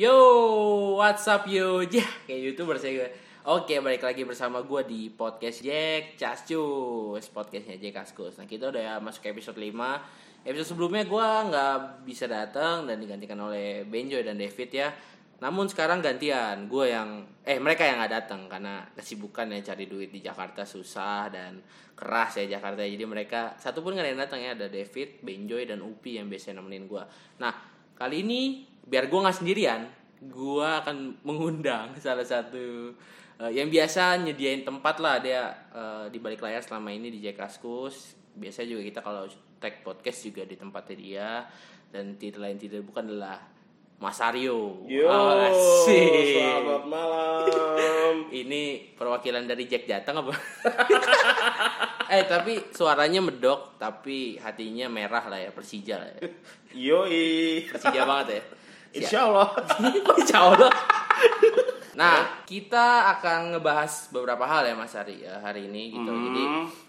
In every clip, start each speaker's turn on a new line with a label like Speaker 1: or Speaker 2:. Speaker 1: Yo, what's up yo? Yah, kayak youtuber saya gue. Oke, balik lagi bersama gue di podcast Jack Cascus Podcastnya Jack Cascus Nah, kita udah masuk ke episode 5 Episode sebelumnya gue nggak bisa datang dan digantikan oleh Benjo dan David ya Namun sekarang gantian, gue yang... Eh, mereka yang nggak datang Karena kesibukan ya cari duit di Jakarta susah dan keras ya Jakarta Jadi mereka, satu pun nggak ada yang datang ya Ada David, Benjoy, dan Upi yang biasanya nemenin gue Nah, kali ini biar gue nggak sendirian gue akan mengundang salah satu eh, yang biasa nyediain tempat lah dia eh, di balik layar selama ini di Jakaskus biasanya juga kita kalau tag podcast juga di tempatnya dia dan tidak lain tidak bukan adalah Mas Aryo Oh,
Speaker 2: Yo,
Speaker 1: Ah, Asik.
Speaker 2: selamat malam.
Speaker 1: ini perwakilan dari Jack Jateng apa eh tapi suaranya medok tapi hatinya merah lah ya Persija lah ya.
Speaker 2: Yoi.
Speaker 1: Persija banget ya
Speaker 2: Insya Allah.
Speaker 1: Insya Allah. Nah, kita akan ngebahas beberapa hal ya Mas Hari eh, hari ini gitu. Jadi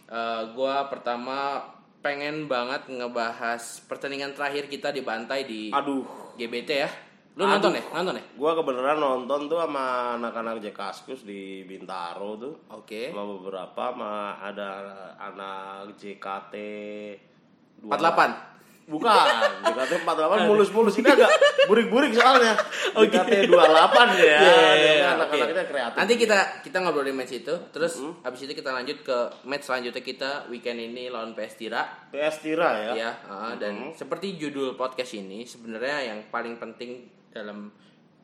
Speaker 1: eh, gua pertama pengen banget ngebahas pertandingan terakhir kita dibantai di
Speaker 2: Aduh,
Speaker 1: GBT ya. Lu
Speaker 2: Aduh.
Speaker 1: nonton ya? Nonton ya?
Speaker 2: gua kebenaran nonton tuh sama anak-anak Jekaskus di Bintaro tuh.
Speaker 1: Oke.
Speaker 2: Sama beberapa sama ada anak JKT
Speaker 1: 48.
Speaker 2: Bukan, JKT 48 mulus-mulus ini agak burik-burik soalnya. JKT 28 ya.
Speaker 1: iya,
Speaker 2: Jadi
Speaker 1: iya,
Speaker 2: anak-anaknya
Speaker 1: oke.
Speaker 2: kreatif.
Speaker 1: Nanti kita kita ngobrolin match itu, terus habis itu kita lanjut ke match selanjutnya kita weekend ini lawan PS Tira.
Speaker 2: PS Tira ya.
Speaker 1: ya uh, dan seperti judul podcast ini sebenarnya yang paling penting dalam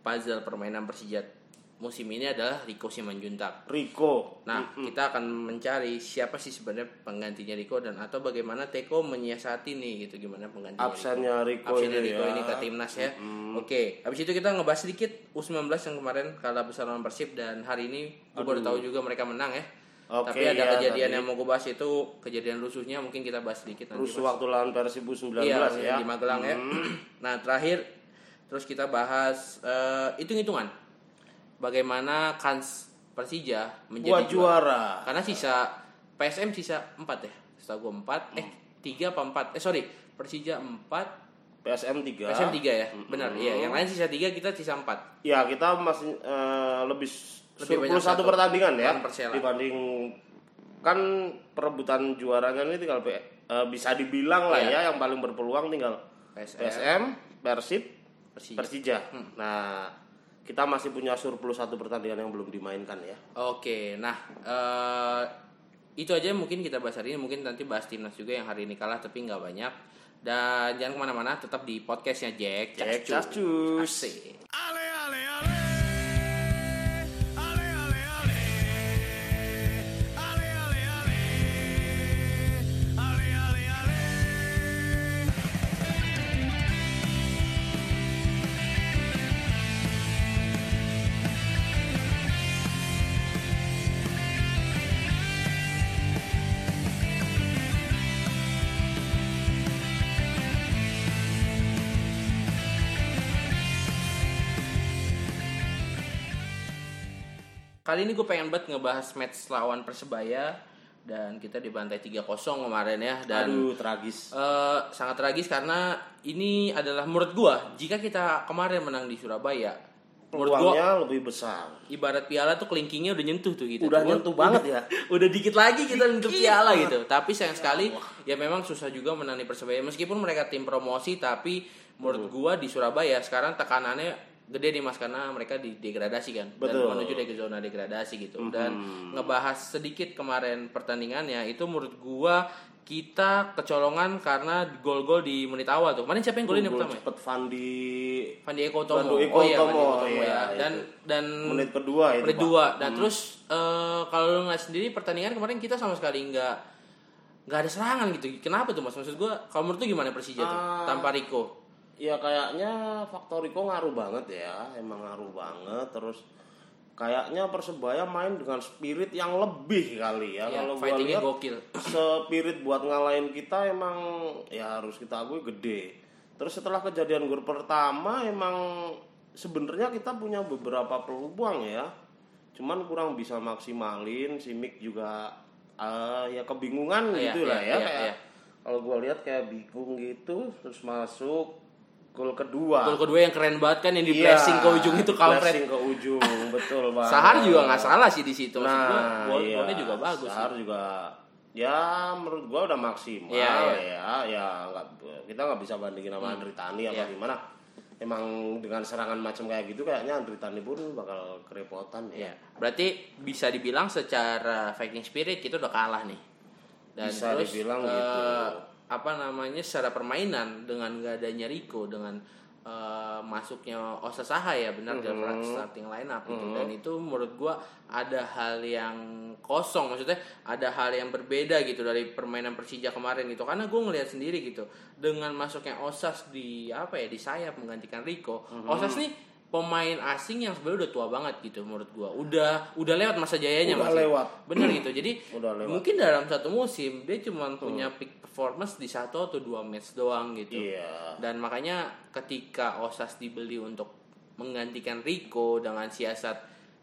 Speaker 1: puzzle permainan Persija musim ini adalah Rico Simanjuntak.
Speaker 2: Rico.
Speaker 1: Nah, kita akan mencari siapa sih sebenarnya penggantinya Rico dan atau bagaimana Teko menyiasati nih gitu gimana penggantinya.
Speaker 2: Absennya Rico
Speaker 1: Absennya
Speaker 2: ini
Speaker 1: Rico
Speaker 2: ya.
Speaker 1: ini ke timnas ya. Oke, habis itu kita ngebahas sedikit U19 yang kemarin kalah besar lawan Persib dan hari ini gue baru tahu juga mereka menang ya.
Speaker 2: Oke,
Speaker 1: Tapi ada
Speaker 2: iya,
Speaker 1: kejadian
Speaker 2: tadi.
Speaker 1: yang mau gue bahas itu kejadian rusuhnya mungkin kita bahas sedikit nanti.
Speaker 2: Rusuh waktu lawan Persib 19
Speaker 1: Iya,
Speaker 2: ya.
Speaker 1: di Magelang ya. Nah, terakhir terus kita bahas eh, hitung-hitungan. Bagaimana kans Persija
Speaker 2: Buat
Speaker 1: menjadi juara.
Speaker 2: juara.
Speaker 1: Karena sisa PSM sisa 4 ya. Setahu gua 4 eh 3 apa 4? Eh sorry, Persija 4,
Speaker 2: PSM 3.
Speaker 1: PSM 3 ya. Benar. Iya,
Speaker 2: Hmm.
Speaker 1: yang lain sisa 3, kita sisa 4.
Speaker 2: Ya, kita masih eh,
Speaker 1: Lebih
Speaker 2: lebih, lebih
Speaker 1: banyak
Speaker 2: surplus satu
Speaker 1: satu.
Speaker 2: pertandingan ya.
Speaker 1: Lawan Persela.
Speaker 2: Dibanding kan perebutan juaranya ini tinggal P- eh, bisa dibilang lah
Speaker 1: Iya.
Speaker 2: ya yang paling berpeluang tinggal
Speaker 1: PSM,
Speaker 2: PSM, Persib,
Speaker 1: Persija. Hmm.
Speaker 2: Persija. Nah, kita masih punya surplus satu pertandingan yang belum dimainkan ya.
Speaker 1: Oke, nah eh, itu aja yang mungkin kita bahas hari ini. Mungkin nanti bahas timnas juga yang hari ini kalah tapi nggak banyak. Dan jangan kemana-mana, tetap di podcastnya Jack.
Speaker 2: Jack
Speaker 1: Cascus.
Speaker 2: Cascus.
Speaker 1: Asik.
Speaker 3: Ale, ale, ale. Ale, ale, ale. Ale, ale, ale. Ale, ale, ale.
Speaker 1: Kali ini gue pengen banget ngebahas match lawan Persebaya dan kita dibantai 3-0 kemarin ya dan
Speaker 2: Aduh, tragis.
Speaker 1: eh, sangat tragis karena ini adalah menurut gue jika kita kemarin menang di Surabaya menurut gue
Speaker 2: Peluangnya lebih besar.
Speaker 1: ibarat piala tuh kelingkingnya udah nyentuh tuh gitu.
Speaker 2: Udah
Speaker 1: Tuh,
Speaker 2: nyentuh
Speaker 1: udah-
Speaker 2: banget ya.
Speaker 1: Udah dikit lagi kita nyentuh piala gitu. Tapi sayang sekali ya memang susah juga menang di Persebaya meskipun mereka tim promosi tapi menurut gua di Surabaya sekarang tekanannya gede nih Mas karena mereka didegradasi kan
Speaker 2: Betul. Mhm.
Speaker 1: dan menuju ke zona degradasi gitu. Dan ngebahas sedikit kemarin pertandingannya itu menurut gua kita kecolongan karena gol-gol di menit awal tuh. Kemarin siapa yang golin yang
Speaker 2: Gol
Speaker 1: pertama ya?
Speaker 2: cepet Fandi
Speaker 1: Van Eko Tomo.
Speaker 2: Van Eko
Speaker 1: oh iya, Van Eko
Speaker 2: Tomo,
Speaker 1: Tomo
Speaker 2: iya,
Speaker 1: ya. Dan dan
Speaker 2: menit kedua itu.
Speaker 1: menit
Speaker 2: Pak.
Speaker 1: dua. Nah terus eh, kalau lu ngeliat sendiri pertandingan kemarin kita sama sekali nggak nggak ada serangan gitu. Kenapa tuh mas? Maksud gue kalau menurut lu gimana Persija tuh
Speaker 2: Ah.
Speaker 1: tanpa Rico?
Speaker 2: Ya kayaknya faktor Rico ngaruh banget ya, emang ngaruh banget. Terus kayaknya persebaya main dengan spirit yang lebih kali ya.
Speaker 1: Ya,
Speaker 2: Kalau gua
Speaker 1: fightingnya
Speaker 2: lihat ah.
Speaker 1: gokil.
Speaker 2: spirit buat ngalahin kita emang ya harus kita akui gede. Terus setelah kejadian gol pertama emang sebenarnya kita punya beberapa peluang ya. Cuman kurang bisa maksimalin, Simic juga eh, ya kebingungan
Speaker 1: Iya,
Speaker 2: gitu lah
Speaker 1: iya,
Speaker 2: ya
Speaker 1: iya,
Speaker 2: kayak
Speaker 1: iya.
Speaker 2: kalau gua lihat kayak bingung gitu terus masuk Gol kedua.
Speaker 1: Gol kedua yang keren banget kan yang di
Speaker 2: Iya,
Speaker 1: pressing ke ujung itu kampret.
Speaker 2: Pressing ke ujung, betul banget.
Speaker 1: Sahar juga nggak salah sih di situ. Maksud gua,
Speaker 2: Nah,
Speaker 1: gol-
Speaker 2: iya.
Speaker 1: golnya juga bagus.
Speaker 2: Sahar juga ya menurut gua udah maksimal
Speaker 1: Iya, iya.
Speaker 2: ya. Ya nggak- kita nggak bisa bandingin sama Andri Tani apa
Speaker 1: Iya.
Speaker 2: gimana. Emang dengan serangan macam kayak gitu kayaknya Andri Tani pun bakal kerepotan
Speaker 1: Ya,
Speaker 2: ya.
Speaker 1: berarti bisa dibilang secara fighting spirit kita udah kalah nih. Dan
Speaker 2: Bisa
Speaker 1: terus
Speaker 2: dibilang
Speaker 1: eh,
Speaker 2: gitu.
Speaker 1: apa namanya secara permainan dengan gak adanya Rico dengan eh, masuknya Osa Sahaya benar dia
Speaker 2: Mm-hmm.
Speaker 1: starting line up itu dan itu menurut gua ada hal yang kosong maksudnya ada hal yang berbeda gitu dari permainan Persija kemarin gitu karena gua ngelihat sendiri gitu dengan masuknya Osas di apa ya di sayap menggantikan Rico
Speaker 2: Mm-hmm.
Speaker 1: Osas nih pemain asing yang sebenarnya udah tua banget gitu menurut gua udah udah lewat masa jayanya
Speaker 2: Udah
Speaker 1: Mas.
Speaker 2: lewat.
Speaker 1: bener gitu jadi
Speaker 2: Udah lewat.
Speaker 1: mungkin dalam satu musim dia cuma punya peak performance di satu atau dua match doang gitu
Speaker 2: Iya.
Speaker 1: dan makanya ketika Osas dibeli untuk menggantikan Rico dengan siasat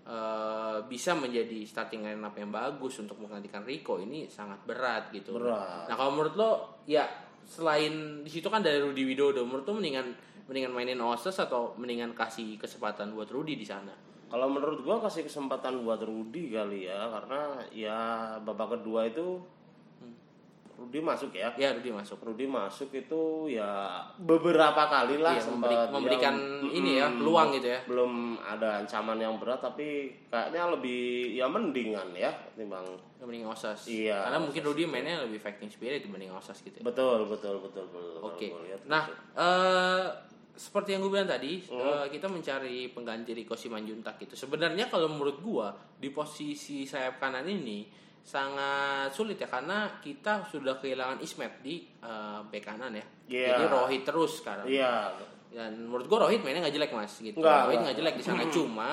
Speaker 1: eh, bisa menjadi starting lineup yang bagus untuk menggantikan Rico ini sangat berat gitu.
Speaker 2: Berat.
Speaker 1: Nah kalau menurut lo ya selain di situ kan dari Rudi Widodo menurut lo mendingan mendingan mainin Osas atau mendingan kasih kesempatan buat Rudi di sana?
Speaker 2: Kalau menurut gua kasih kesempatan buat Rudi kali ya karena ya babak kedua itu
Speaker 1: Hmm.
Speaker 2: Rudi masuk ya.
Speaker 1: Ya Rudi masuk.
Speaker 2: Rudi masuk itu ya beberapa kali lah
Speaker 1: Iya,
Speaker 2: Ah, sempat iya, hmm.
Speaker 1: memberi- memberikan
Speaker 2: dia-
Speaker 1: ini ya,
Speaker 2: Mm-mm.
Speaker 1: peluang gitu ya.
Speaker 2: Belum ada ancaman yang berat tapi kayaknya lebih ya mendingan ya timbang
Speaker 1: Mending Osas.
Speaker 2: Iya,
Speaker 1: Karena mungkin Rudi mainnya lebih fighting spirit dibanding Osas gitu. ya.
Speaker 2: betul betul betul betul.
Speaker 1: Oke.
Speaker 2: Kalau gua lihat gitu. Hmm.
Speaker 1: Nah,
Speaker 2: betul.
Speaker 1: eh seperti yang gue bilang tadi, eh, kita mencari pengganti Rico Simanjuntak itu. Sebenarnya kalau menurut gua di posisi sayap kanan ini sangat sulit ya karena kita sudah kehilangan Ismet di eh, bek kanan ya.
Speaker 2: Iya.
Speaker 1: Jadi Rohit terus sekarang.
Speaker 2: iya
Speaker 1: Dan Ya, menurut gua Rohit mainnya nggak jelek mas gitu. Rohit
Speaker 2: Nggak, nggak.
Speaker 1: nggak jelek di sana cuma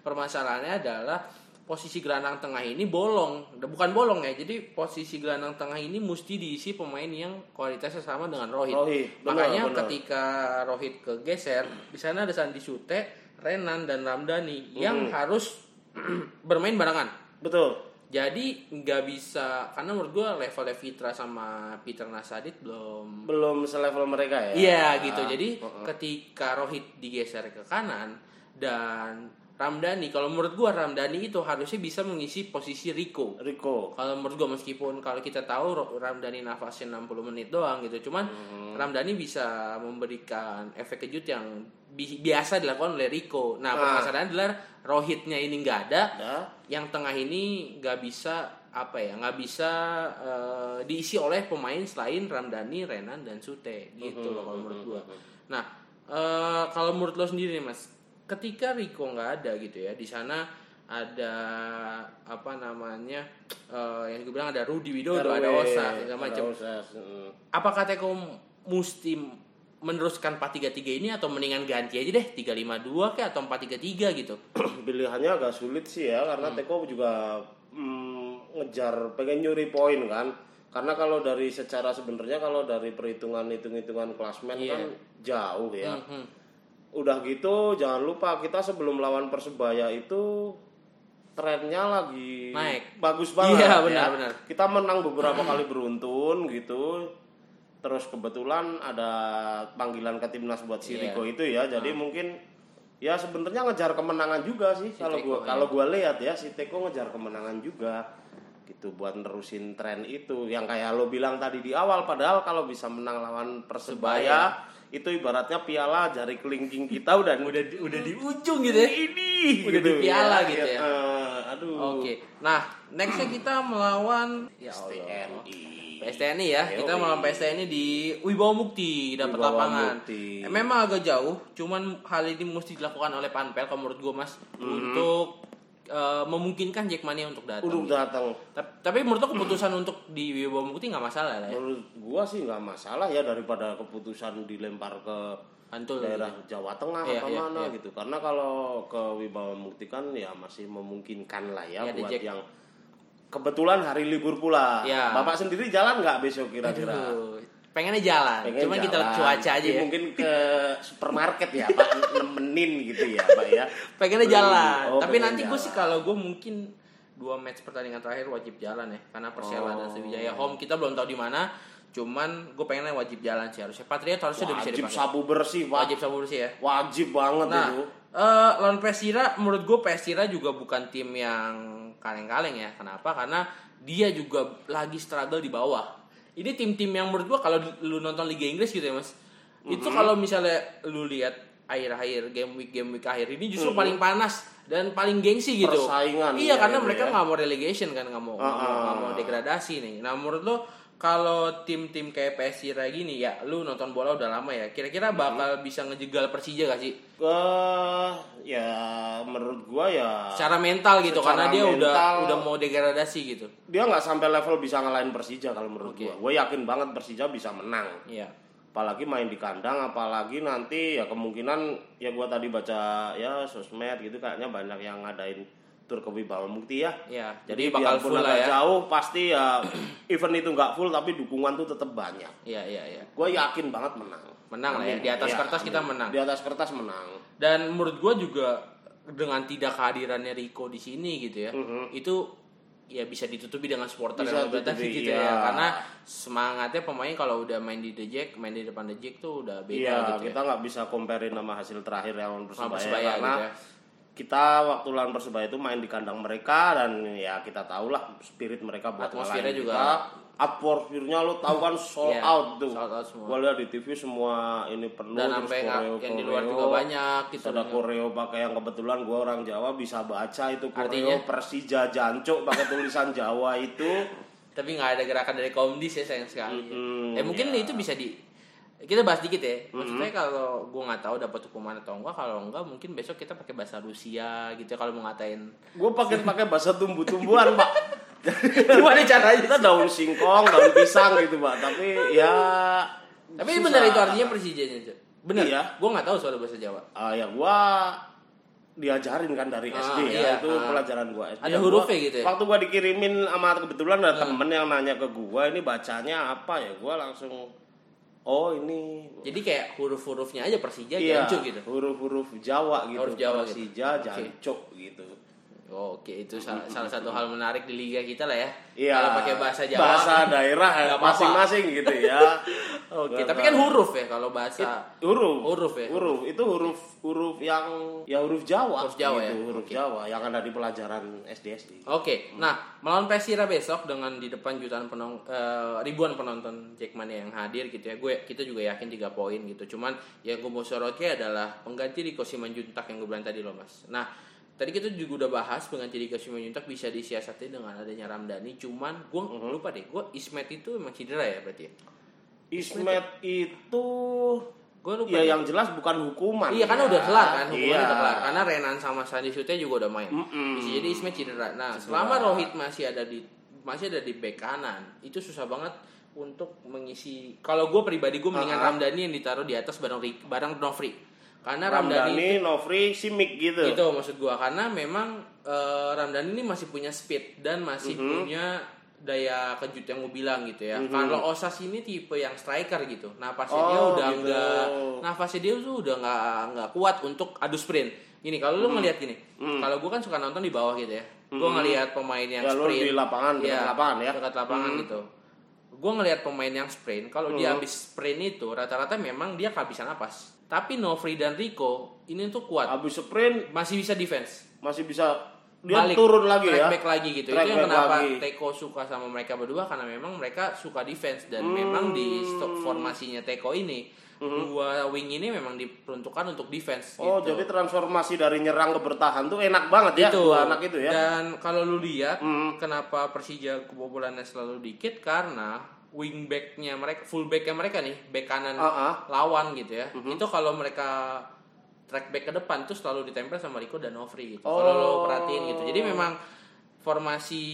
Speaker 1: permasalahannya adalah posisi gelandang tengah ini bolong, bukan bolong ya. Jadi posisi gelandang tengah ini mesti diisi pemain yang kualitasnya sama dengan Rohit.
Speaker 2: Rohit, benar,
Speaker 1: Makanya
Speaker 2: benar.
Speaker 1: ketika Rohit kegeser, di sana ada Sandi Sute, Renan dan Ramdhani yang harus bermain barengan.
Speaker 2: betul
Speaker 1: Jadi nggak bisa karena menurut gua levelnya Fitra sama Peter Nasadit belum
Speaker 2: belum selevel mereka ya.
Speaker 1: Iya gitu. Jadi ketika Rohit digeser ke kanan dan Ramdhani kalau menurut gua Ramdhani itu harusnya bisa mengisi posisi Rico.
Speaker 2: Rico
Speaker 1: Kalau menurut gua meskipun kalau kita tahu Ro- Ramdhani nafasnya 60 menit doang gitu. Cuman Ramdhani bisa memberikan efek kejut yang bi- biasa dilakukan oleh Rico. Nah,
Speaker 2: Nah.
Speaker 1: permasalahannya adalah Rohitnya ini nggak ada,
Speaker 2: ada
Speaker 1: yang tengah ini nggak bisa apa ya nggak bisa eh, diisi oleh pemain selain Ramdhani, Renan dan Sute gitu loh kalau menurut gua. Nah eh, kalau menurut lo sendiri nih mas, ketika Rico nggak ada gitu ya di sana ada apa namanya eh, yang gue bilang ada Rudi Widodo, ada
Speaker 2: Darwin,
Speaker 1: Osa segala
Speaker 2: ada
Speaker 1: macam.
Speaker 2: Osas, mm.
Speaker 1: Apakah Teko mesti meneruskan 433 ini atau mendingan ganti aja deh 352 kayak atau 433 gitu?
Speaker 2: pilihannya agak sulit sih ya karena
Speaker 1: Hmm.
Speaker 2: Teko juga mm, ngejar pengen nyuri poin kan karena kalau dari secara sebenarnya kalau dari perhitungan hitung-hitungan klasmen
Speaker 1: Iya.
Speaker 2: kan jauh ya
Speaker 1: Mhm.
Speaker 2: udah gitu jangan lupa kita sebelum lawan persebaya itu trennya lagi
Speaker 1: Naik.
Speaker 2: bagus banget
Speaker 1: Iya,
Speaker 2: ya.
Speaker 1: benar-benar.
Speaker 2: kita menang beberapa kali beruntun gitu terus kebetulan ada panggilan ke timnas buat si
Speaker 1: Iya.
Speaker 2: Rico itu ya jadi mungkin ya sebenarnya ngejar kemenangan juga sih kalau
Speaker 1: Teko,
Speaker 2: gua
Speaker 1: ya.
Speaker 2: kalau gua lihat ya si Teko ngejar kemenangan juga gitu buat nerusin tren itu yang kayak lo bilang tadi di awal padahal kalau bisa menang lawan persebaya itu ibaratnya piala jari kelingking kita udah udah di,
Speaker 1: Udah di ujung gitu ya.
Speaker 2: ini
Speaker 1: udah di piala gitu ya.
Speaker 2: eh, aduh
Speaker 1: Oke, nah nextnya kita melawan ya Allah.
Speaker 2: TNI
Speaker 1: PSTNI ya, kita melawan PSTNI di Wibawa Mukti dapat
Speaker 2: Wibawa
Speaker 1: lapangan.
Speaker 2: Mukti.
Speaker 1: Eh, Memang agak jauh, cuman hal ini mesti dilakukan oleh Panpel kalau menurut gue mas
Speaker 2: Mhm.
Speaker 1: untuk eh, memungkinkan Jackmania untuk datang.
Speaker 2: udah datang
Speaker 1: Ta- Tapi menurut lo keputusan untuk di Wibawa Mukti nggak masalah lah ya.
Speaker 2: menurut gua sih nggak masalah ya daripada keputusan dilempar ke
Speaker 1: Antul
Speaker 2: daerah Jawa Tengah
Speaker 1: Iya,
Speaker 2: apa
Speaker 1: iya,
Speaker 2: mana
Speaker 1: iya.
Speaker 2: gitu karena kalau ke Wibawa Mukti kan ya masih memungkinkan lah ya
Speaker 1: Iya,
Speaker 2: buat
Speaker 1: Dejek.
Speaker 2: yang kebetulan hari libur pula
Speaker 1: Iya.
Speaker 2: bapak sendiri jalan nggak besok kira-kira
Speaker 1: Aduh, pengennya jalan,
Speaker 2: Pengen
Speaker 1: cuman kita
Speaker 2: jalan.
Speaker 1: cuaca aja
Speaker 2: Ya,
Speaker 1: ya.
Speaker 2: mungkin ke supermarket ya pak nemenin gitu ya pak ya
Speaker 1: pengennya jalan
Speaker 2: Oh,
Speaker 1: tapi
Speaker 2: pengen
Speaker 1: nanti gue
Speaker 2: jalan.
Speaker 1: sih kalau gue mungkin
Speaker 2: Oh.
Speaker 1: dua match pertandingan terakhir wajib jalan ya karena Persela dan Sriwijaya home kita belum tahu di mana Cuman gue pengennya wajib jalan sih harusnya. Patriot harusnya udah bisa
Speaker 2: Wajib
Speaker 1: dipakai.
Speaker 2: sabu bersih, Pak.
Speaker 1: Wajib sabu bersih ya.
Speaker 2: Wajib banget ya,
Speaker 1: Nah,
Speaker 2: itu.
Speaker 1: eh, lawan Persira menurut gue Persira juga bukan tim yang kaleng-kaleng ya. Kenapa? Karena dia juga lagi struggle di bawah. Ini tim-tim yang menurut gue kalau lu nonton Liga Inggris gitu ya, Mas. Itu
Speaker 2: Mm-hmm.
Speaker 1: kalau misalnya lu lihat akhir-akhir game week game week akhir ini justru paling panas dan paling gengsi gitu.
Speaker 2: Mm-hmm. Persaingan,
Speaker 1: Iya,
Speaker 2: iya,
Speaker 1: karena
Speaker 2: iya,
Speaker 1: mereka
Speaker 2: iya.
Speaker 1: nggak mau relegation kan, nggak mau
Speaker 2: Ah,
Speaker 1: nggak mau- nggak mau degradasi nih. Nah, menurut lo kalau tim-tim kayak Persira gini ya, lu nonton bola udah lama ya. Kira-kira bakal
Speaker 2: Mm-hmm.
Speaker 1: bisa ngejegal Persija gak sih?
Speaker 2: Ke ya menurut gua ya
Speaker 1: secara mental gitu
Speaker 2: Secara
Speaker 1: karena dia udah
Speaker 2: mental.
Speaker 1: udah mau degradasi gitu
Speaker 2: dia nggak sampai level bisa ngalahin Persija kalau menurut
Speaker 1: Oke.
Speaker 2: gua. Gua yakin banget Persija bisa menang.
Speaker 1: iya
Speaker 2: apalagi main di kandang apalagi nanti ya kemungkinan ya gua tadi baca ya sosmed gitu kayaknya banyak yang ngadain tur ke Wibawa Mukti ya
Speaker 1: iya
Speaker 2: jadi,
Speaker 1: jadi, bakal
Speaker 2: biarpun
Speaker 1: full lah
Speaker 2: agak
Speaker 1: ya
Speaker 2: jauh pasti ya event itu nggak full tapi dukungan tuh tetap banyak
Speaker 1: iya iya iya
Speaker 2: gue yakin banget menang
Speaker 1: menang lah ya
Speaker 2: Amin.
Speaker 1: di atas
Speaker 2: Iya,
Speaker 1: kertas kita
Speaker 2: amin.
Speaker 1: menang
Speaker 2: di atas kertas menang
Speaker 1: dan menurut gua juga dengan tidak kehadirannya Rico di sini gitu ya itu ya bisa ditutupi dengan supporter
Speaker 2: Mm-hmm. Bisa
Speaker 1: yang lebih datang
Speaker 2: ditutupi,
Speaker 1: gitu
Speaker 2: iya.
Speaker 1: ya karena semangatnya pemain kalau udah main di The Jack main di depan The Jack tuh udah beda
Speaker 2: iya
Speaker 1: gitu
Speaker 2: kita nggak bisa comparein sama hasil terakhir yang lawan
Speaker 1: Sama
Speaker 2: persebaya,
Speaker 1: Persebaya
Speaker 2: karena
Speaker 1: gitu ya.
Speaker 2: kita waktu lawan persebaya itu main di kandang mereka dan ya kita tahulah spirit mereka buat
Speaker 1: Atmosfernya
Speaker 2: ngalahin
Speaker 1: juga.
Speaker 2: kita. atmosfernya lo tahu kan sold
Speaker 1: Iya,
Speaker 2: out tuh
Speaker 1: sold out semua.
Speaker 2: Gua lihat di TV semua ini penuh
Speaker 1: dan
Speaker 2: terus
Speaker 1: sampai nggak- yang di luar
Speaker 2: koreo.
Speaker 1: juga banyak gitu
Speaker 2: Terus ada koreo pakai yang kebetulan gua orang Jawa bisa baca itu koreo
Speaker 1: Artinya?
Speaker 2: Persija Jancok pakai tulisan Jawa itu
Speaker 1: tapi nggak ada gerakan dari komdis ya sayang sekali.
Speaker 2: Mm-mm, Iya.
Speaker 1: eh mungkin itu bisa di kita bahas dikit ya. Maksudnya kalau gue nggak tahu dapat hukuman atau enggak, kalau enggak mungkin besok kita pakai bahasa Rusia gitu ya kalau mau ngatain.
Speaker 2: gue pakai pakai bahasa tumbuh-tumbuhan pak
Speaker 1: Gimana caranya?
Speaker 2: kita daun singkong daun pisang gitu pak tapi ya
Speaker 1: Tapi
Speaker 2: susah.
Speaker 1: benar itu artinya Persijanya. Cok. Benar.
Speaker 2: Iya.
Speaker 1: Gue nggak tahu soal bahasa Jawa.
Speaker 2: Ah, ya gua diajarin kan dari
Speaker 1: Ah,
Speaker 2: SD ya
Speaker 1: iya,
Speaker 2: itu
Speaker 1: ah.
Speaker 2: pelajaran gua SD.
Speaker 1: Ada
Speaker 2: Ya,
Speaker 1: hurufnya
Speaker 2: gua-
Speaker 1: gitu ya? Ah.
Speaker 2: Waktu gua dikirimin sama kebetulan ada temen yang nanya ke gua ini bacanya apa ya gua langsung oh ini Iya,
Speaker 1: Jadi kayak huruf-hurufnya aja Persija Jancuk gitu.
Speaker 2: huruf-huruf Jawa gitu
Speaker 1: Huruf Jawa gitu.
Speaker 2: Persija
Speaker 1: Oke.
Speaker 2: Jancuk gitu
Speaker 1: Oke, itu salah, salah satu hal menarik di liga kita lah ya.
Speaker 2: Iya
Speaker 1: Kalau pakai bahasa Jawa.
Speaker 2: bahasa daerah
Speaker 1: Nggak apa-apa.
Speaker 2: masing-masing gitu ya
Speaker 1: Oke, tapi kan huruf ya kalau bahasa
Speaker 2: huruf
Speaker 1: Huruf ya?
Speaker 2: huruf itu huruf huruf yang ya huruf Jawa
Speaker 1: Huruf Jawa
Speaker 2: gitu,
Speaker 1: ya?
Speaker 2: huruf
Speaker 1: Oke.
Speaker 2: Jawa yang ada di pelajaran SD SD
Speaker 1: Oke, nah melawan Persira besok dengan di depan jutaan penong, eh, ribuan penonton Jackmania yang hadir gitu ya, gue kita juga yakin tiga poin gitu. Cuman yang gue mau sorotnya adalah pengganti Riko Simanjuntak yang gue bilang tadi loh mas. Nah tadi kita juga udah bahas pengganti Riko Simanjuntak bisa disiasati dengan adanya Ramdhani. Cuman gue lupa deh, gue Ismet itu emang cedera ya berarti. ya?
Speaker 2: Ismet itu
Speaker 1: Gue lupa.
Speaker 2: ya
Speaker 1: deh.
Speaker 2: yang jelas bukan hukuman.
Speaker 1: Iya karena
Speaker 2: ya.
Speaker 1: udah kelar kan hukumannya
Speaker 2: Iya.
Speaker 1: udah kelar karena Renan sama Sandi Sute juga udah main. Bisa jadi Ismet cedera. Nah, selama Rohit masih ada di masih ada di bek kanan, itu susah banget untuk mengisi. Kalau gue pribadi gue mendingan Ramdhani yang ditaruh di atas bareng Rik- bareng Nofri. Karena Ramdhani,
Speaker 2: Ramdhani, Novri, Simic gitu.
Speaker 1: itu maksud gue karena memang eh, Ramdhani ini masih punya speed dan masih
Speaker 2: Mhm.
Speaker 1: punya daya kejut yang gue bilang gitu ya. Kalau Osas ini tipe yang striker gitu. Napasnya dia
Speaker 2: Oh,
Speaker 1: udah
Speaker 2: gitu.
Speaker 1: enggak nafasnya dia tuh udah nggak nggak kuat untuk adu sprint. Gini kalau
Speaker 2: Mhm.
Speaker 1: lu ngelihat gini, kalau gue kan suka nonton di bawah gitu ya. Gue ngelihat pemain yang
Speaker 2: Ya, lu
Speaker 1: sprint
Speaker 2: di lapangan, dekat
Speaker 1: Iya,
Speaker 2: lapangan ya.
Speaker 1: dekat lapangan gitu. Gue ngelihat pemain yang sprint, kalau dia
Speaker 2: Mhm.
Speaker 1: habis sprint itu rata-rata memang dia kehabisan napas. Tapi Novri dan Rico ini tuh kuat
Speaker 2: Habis sprint
Speaker 1: masih bisa defense.
Speaker 2: masih bisa dia
Speaker 1: Balik,
Speaker 2: turun lagi
Speaker 1: track
Speaker 2: ya.
Speaker 1: back lagi gitu.
Speaker 2: Track
Speaker 1: itu yang
Speaker 2: back
Speaker 1: kenapa
Speaker 2: lagi.
Speaker 1: Teko suka sama mereka berdua karena memang mereka suka defense dan
Speaker 2: Hmm.
Speaker 1: memang di stok formasinya Teko ini dua wing ini memang diperuntukkan untuk defense
Speaker 2: Oh,
Speaker 1: gitu.
Speaker 2: jadi transformasi dari nyerang ke bertahan tuh enak banget ya
Speaker 1: Itu.
Speaker 2: dua anak itu ya. Hmm.
Speaker 1: Dan kalau lu lihat kenapa Persija kebobolannya selalu dikit karena wingbacknya mereka, fullbacknya mereka nih, back kanan
Speaker 2: Ah,
Speaker 1: lawan gitu ya. Itu kalau mereka track back ke depan tuh selalu ditempel sama Rico dan Novri gitu. Kalau
Speaker 2: Oh.
Speaker 1: lo perhatiin gitu. Jadi memang formasi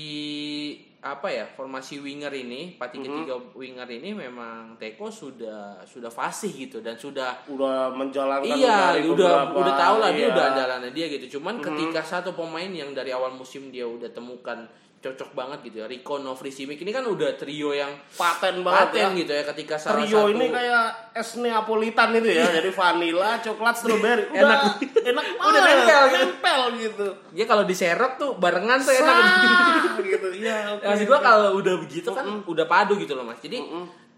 Speaker 1: apa ya formasi winger ini
Speaker 2: Hmm.
Speaker 1: 4-3-3 winger ini memang Teko sudah sudah fasih gitu dan sudah
Speaker 2: kan Udah menjalankan
Speaker 1: iya
Speaker 2: dari
Speaker 1: udah
Speaker 2: beberapa-
Speaker 1: udah tahu lah dia
Speaker 2: iya. Mhm.
Speaker 1: udah andalannya dia gitu cuman ketika satu pemain yang dari awal musim dia udah temukan cocok banget gitu ya Rico Novri Simic ini kan udah trio yang
Speaker 2: paten banget
Speaker 1: paten
Speaker 2: ya.
Speaker 1: gitu ya ketika salah
Speaker 2: Trio
Speaker 1: satu Iya.
Speaker 2: ini kayak es Neapolitan itu ya, jadi vanilla, coklat, strawberry. Udah,
Speaker 1: Enak.
Speaker 2: enak banget.
Speaker 1: Udah nempel gitu.
Speaker 2: nempel gitu.
Speaker 1: dia kalau diserok tuh barengan tuh enak
Speaker 2: Sah, gitu. Iya, oke. Mhm.
Speaker 1: Maksud gua kalau udah begitu kan udah padu gitu loh mas. Jadi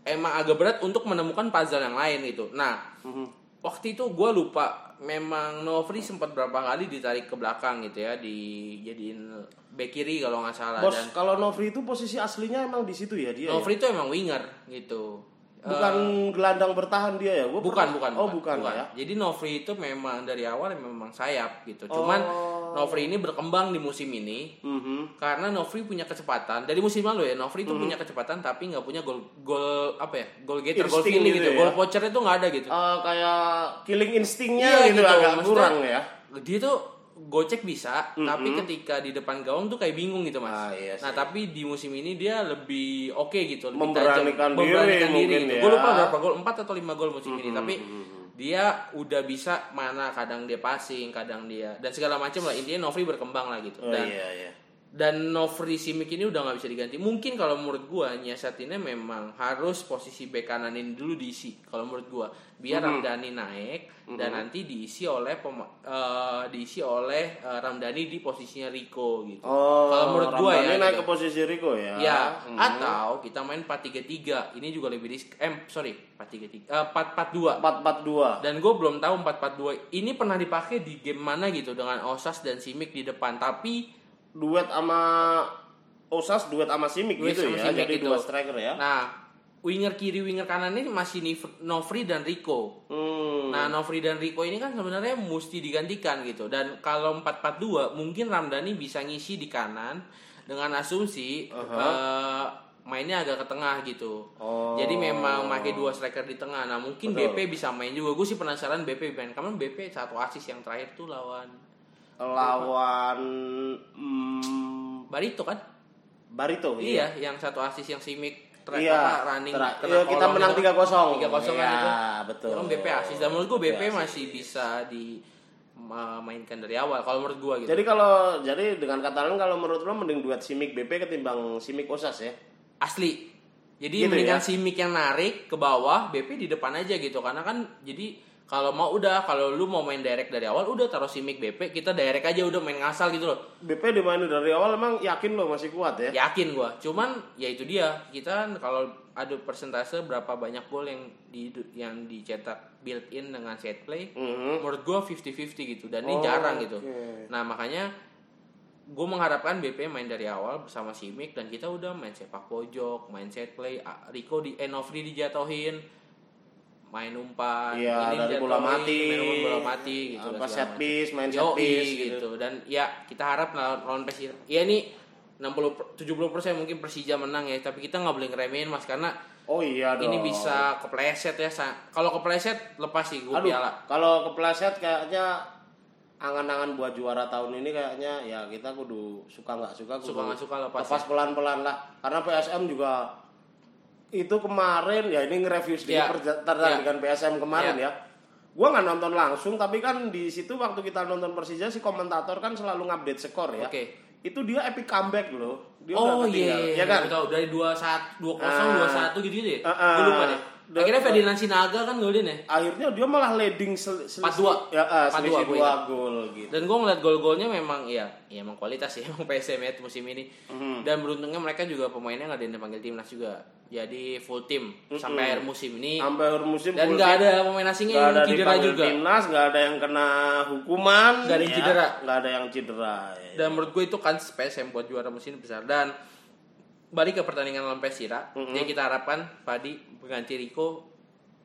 Speaker 1: emang agak berat untuk menemukan puzzle yang lain gitu. Nah,
Speaker 2: Mhm.
Speaker 1: waktu itu gue lupa memang Novri sempat berapa kali ditarik ke belakang gitu ya, dijadiin back kiri kalau nggak salah
Speaker 2: Bos,
Speaker 1: dan
Speaker 2: kalau Novri itu posisi aslinya emang di situ ya dia. ya?
Speaker 1: Novri itu emang winger gitu.
Speaker 2: Bukan gelandang bertahan dia ya? Gua
Speaker 1: bukan
Speaker 2: pernah-
Speaker 1: bukan
Speaker 2: Oh bukan, ya?
Speaker 1: jadi Novri itu memang dari awal memang sayap gitu cuman
Speaker 2: Oh.
Speaker 1: Novri ini berkembang di musim ini
Speaker 2: Mhm.
Speaker 1: karena Novri punya kecepatan dari musim lalu ya Novri itu punya kecepatan tapi nggak punya gol gol apa ya gol getter gol
Speaker 2: Insting
Speaker 1: feeling
Speaker 2: gitu
Speaker 1: gitu,
Speaker 2: ya.
Speaker 1: gol pochernya tuh nggak ada gitu
Speaker 2: Eh, kayak killing instingnya
Speaker 1: Iya,
Speaker 2: gitu,
Speaker 1: gitu.
Speaker 2: agak
Speaker 1: Maksudnya-
Speaker 2: kurang ya.
Speaker 1: dia tuh gocek bisa tapi ketika di depan gawang tuh kayak bingung gitu mas
Speaker 2: Ah, iya sih.
Speaker 1: nah tapi di musim ini dia lebih oke gitu lebih
Speaker 2: Memberanikan
Speaker 1: tajam.
Speaker 2: diri
Speaker 1: memberanikan diri
Speaker 2: mungkin
Speaker 1: gitu.
Speaker 2: ya.
Speaker 1: gue lupa berapa gol 4 atau 5 gol musim ini tapi dia udah bisa mana kadang dia passing kadang dia dan segala macam lah intinya Novri berkembang lah gitu
Speaker 2: Oh,
Speaker 1: dan
Speaker 2: iya iya.
Speaker 1: dan Novri Simic ini udah nggak bisa diganti. Mungkin kalau menurut gua Nyasatinnya memang harus posisi bek kanan ini dulu diisi kalau menurut gua biar Ramdhani naik dan nanti diisi oleh pema- eh, diisi oleh eh, Ramdhani di posisinya Rico gitu.
Speaker 2: Oh,
Speaker 1: kalau menurut gua ya.
Speaker 2: Ramdhani naik
Speaker 1: gitu.
Speaker 2: ke posisi Rico ya.
Speaker 1: Ya,
Speaker 2: Hmm.
Speaker 1: atau kita main 4-3-3. Ini juga lebih risk eh sorry, 4-3-3. Eh, 4-4-2.
Speaker 2: 4-4-2.
Speaker 1: Dan gue belum tahu 4-4-2 ini pernah dipakai di game mana gitu dengan Osas dan Simic di depan. Tapi
Speaker 2: Duet sama Osas duet sama Simic
Speaker 1: Duet
Speaker 2: gitu
Speaker 1: sama
Speaker 2: ya.
Speaker 1: Simic
Speaker 2: Jadi
Speaker 1: gitu.
Speaker 2: dua striker ya.
Speaker 1: Nah, winger kiri, winger kanan ini masih Nif- Novri dan Rico.
Speaker 2: Hmm.
Speaker 1: Nah, Novri dan Rico ini kan sebenarnya mesti digantikan gitu. Dan kalau 4-4-2, mungkin Ramdhani bisa ngisi di kanan dengan asumsi
Speaker 2: Uh-huh.
Speaker 1: eh, mainnya agak ke tengah gitu.
Speaker 2: Oh.
Speaker 1: Jadi memang pakai dua striker di tengah. Nah, mungkin
Speaker 2: Betul.
Speaker 1: BP bisa main juga. Gue sih penasaran BP main. Karena BP satu asis yang terakhir tuh lawan
Speaker 2: lawan hmm,
Speaker 1: Barito kan?
Speaker 2: Barito ya?
Speaker 1: Iya, yang satu asis yang simik tra-
Speaker 2: Iya,
Speaker 1: apa, running
Speaker 2: tra-
Speaker 1: kena
Speaker 2: iya, kita
Speaker 1: kolong
Speaker 2: menang
Speaker 1: gitu. 3-0 kan
Speaker 2: 3-0. Iya,
Speaker 1: itu.
Speaker 2: betul.
Speaker 1: Itu Kan BP asis dan menurut gue BP,
Speaker 2: BP
Speaker 1: masih bisa dimainkan dari awal kalau menurut gue gitu.
Speaker 2: Jadi kalau jadi dengan kata lain kalau menurut lo mending duet Simic BP ketimbang Simic Osas ya.
Speaker 1: Asli. Jadi
Speaker 2: Gitu
Speaker 1: mendingan
Speaker 2: ya?
Speaker 1: simik yang narik ke bawah, BP di depan aja gitu karena kan jadi kalau mau udah kalau lu mau main direct dari awal udah taruh simik BP kita direct aja udah main ngasal gitu loh
Speaker 2: BP dimainin dari awal emang yakin lo masih kuat ya?
Speaker 1: yakin gua cuman ya itu dia kita kan kalau ada persentase berapa banyak gol yang di yang dicetak built in dengan set play
Speaker 2: Mhm.
Speaker 1: menurut gue 50-50 gitu dan ini
Speaker 2: Oh,
Speaker 1: jarang gitu
Speaker 2: oke.
Speaker 1: nah makanya gue mengharapkan BP main dari awal bersama Simic dan kita udah main sepak pojok main set play A- Rico di Enofri dijatuhin main umpan
Speaker 2: Iya,
Speaker 1: ini
Speaker 2: dari
Speaker 1: dijatuhin,
Speaker 2: bola mati,
Speaker 1: main umpan bola mati gitu
Speaker 2: apa,
Speaker 1: dan segala
Speaker 2: set
Speaker 1: macam.
Speaker 2: piece, main set
Speaker 1: Yoi,
Speaker 2: piece, gitu.
Speaker 1: gitu. dan ya kita harap lawan, lawan Persija ya ini 60 per- 70% mungkin Persija menang ya tapi kita nggak boleh ngeremehin mas karena
Speaker 2: Oh iya dong.
Speaker 1: ini bisa kepleset ya Sa. kalau kepleset lepas sih gue
Speaker 2: Aduh,
Speaker 1: piala
Speaker 2: kalau kepleset kayaknya angan-angan buat juara tahun ini kayaknya ya kita kudu suka nggak suka kudu
Speaker 1: Suka nggak suka lepas ya.
Speaker 2: lepas pelan-pelan lah karena PSM juga itu kemarin ya ini nge-review sedikit
Speaker 1: Iya.
Speaker 2: perja- pertandingan PSM kemarin
Speaker 1: Iya.
Speaker 2: ya gua nggak nonton langsung tapi kan di situ waktu kita nonton Persija si komentator kan selalu ngupdate skor ya
Speaker 1: Oke.
Speaker 2: itu dia epic comeback loh dia
Speaker 1: oh iya
Speaker 2: udah ketinggal,
Speaker 1: iya
Speaker 2: ya kan
Speaker 1: gue tahu dari 21 20 21 gitu gitu ya
Speaker 2: Ah, ah.
Speaker 1: gue lupa deh
Speaker 2: Da-
Speaker 1: akhirnya Ferdinand Sinaga kan golin ya
Speaker 2: akhirnya dia malah leading sel-
Speaker 1: 4-2.
Speaker 2: selisih ya eh,
Speaker 1: 4-2, gua
Speaker 2: selisih dua
Speaker 1: ingat.
Speaker 2: gol gitu
Speaker 1: dan gue ngeliat gol-golnya memang ya, ya emang kualitas ya emang PSM ya musim ini
Speaker 2: Hmm.
Speaker 1: dan beruntungnya mereka juga pemainnya nggak ada yang dipanggil timnas juga jadi full tim
Speaker 2: Hmm.
Speaker 1: sampai akhir musim ini
Speaker 2: sampai akhir musim
Speaker 1: dan
Speaker 2: full
Speaker 1: nggak
Speaker 2: team.
Speaker 1: ada pemain asingnya
Speaker 2: Gak
Speaker 1: yang
Speaker 2: ada
Speaker 1: cedera
Speaker 2: dipanggil
Speaker 1: juga
Speaker 2: timnas, gak ada yang kena hukuman,
Speaker 1: Nggak ada yang cedera.
Speaker 2: gak ada yang cedera. ya.
Speaker 1: dan menurut gue itu kan PSM buat juara musim ini besar dan balik ke pertandingan lawan Persira
Speaker 2: Hmm.
Speaker 1: yang kita harapkan Padi pengganti Riko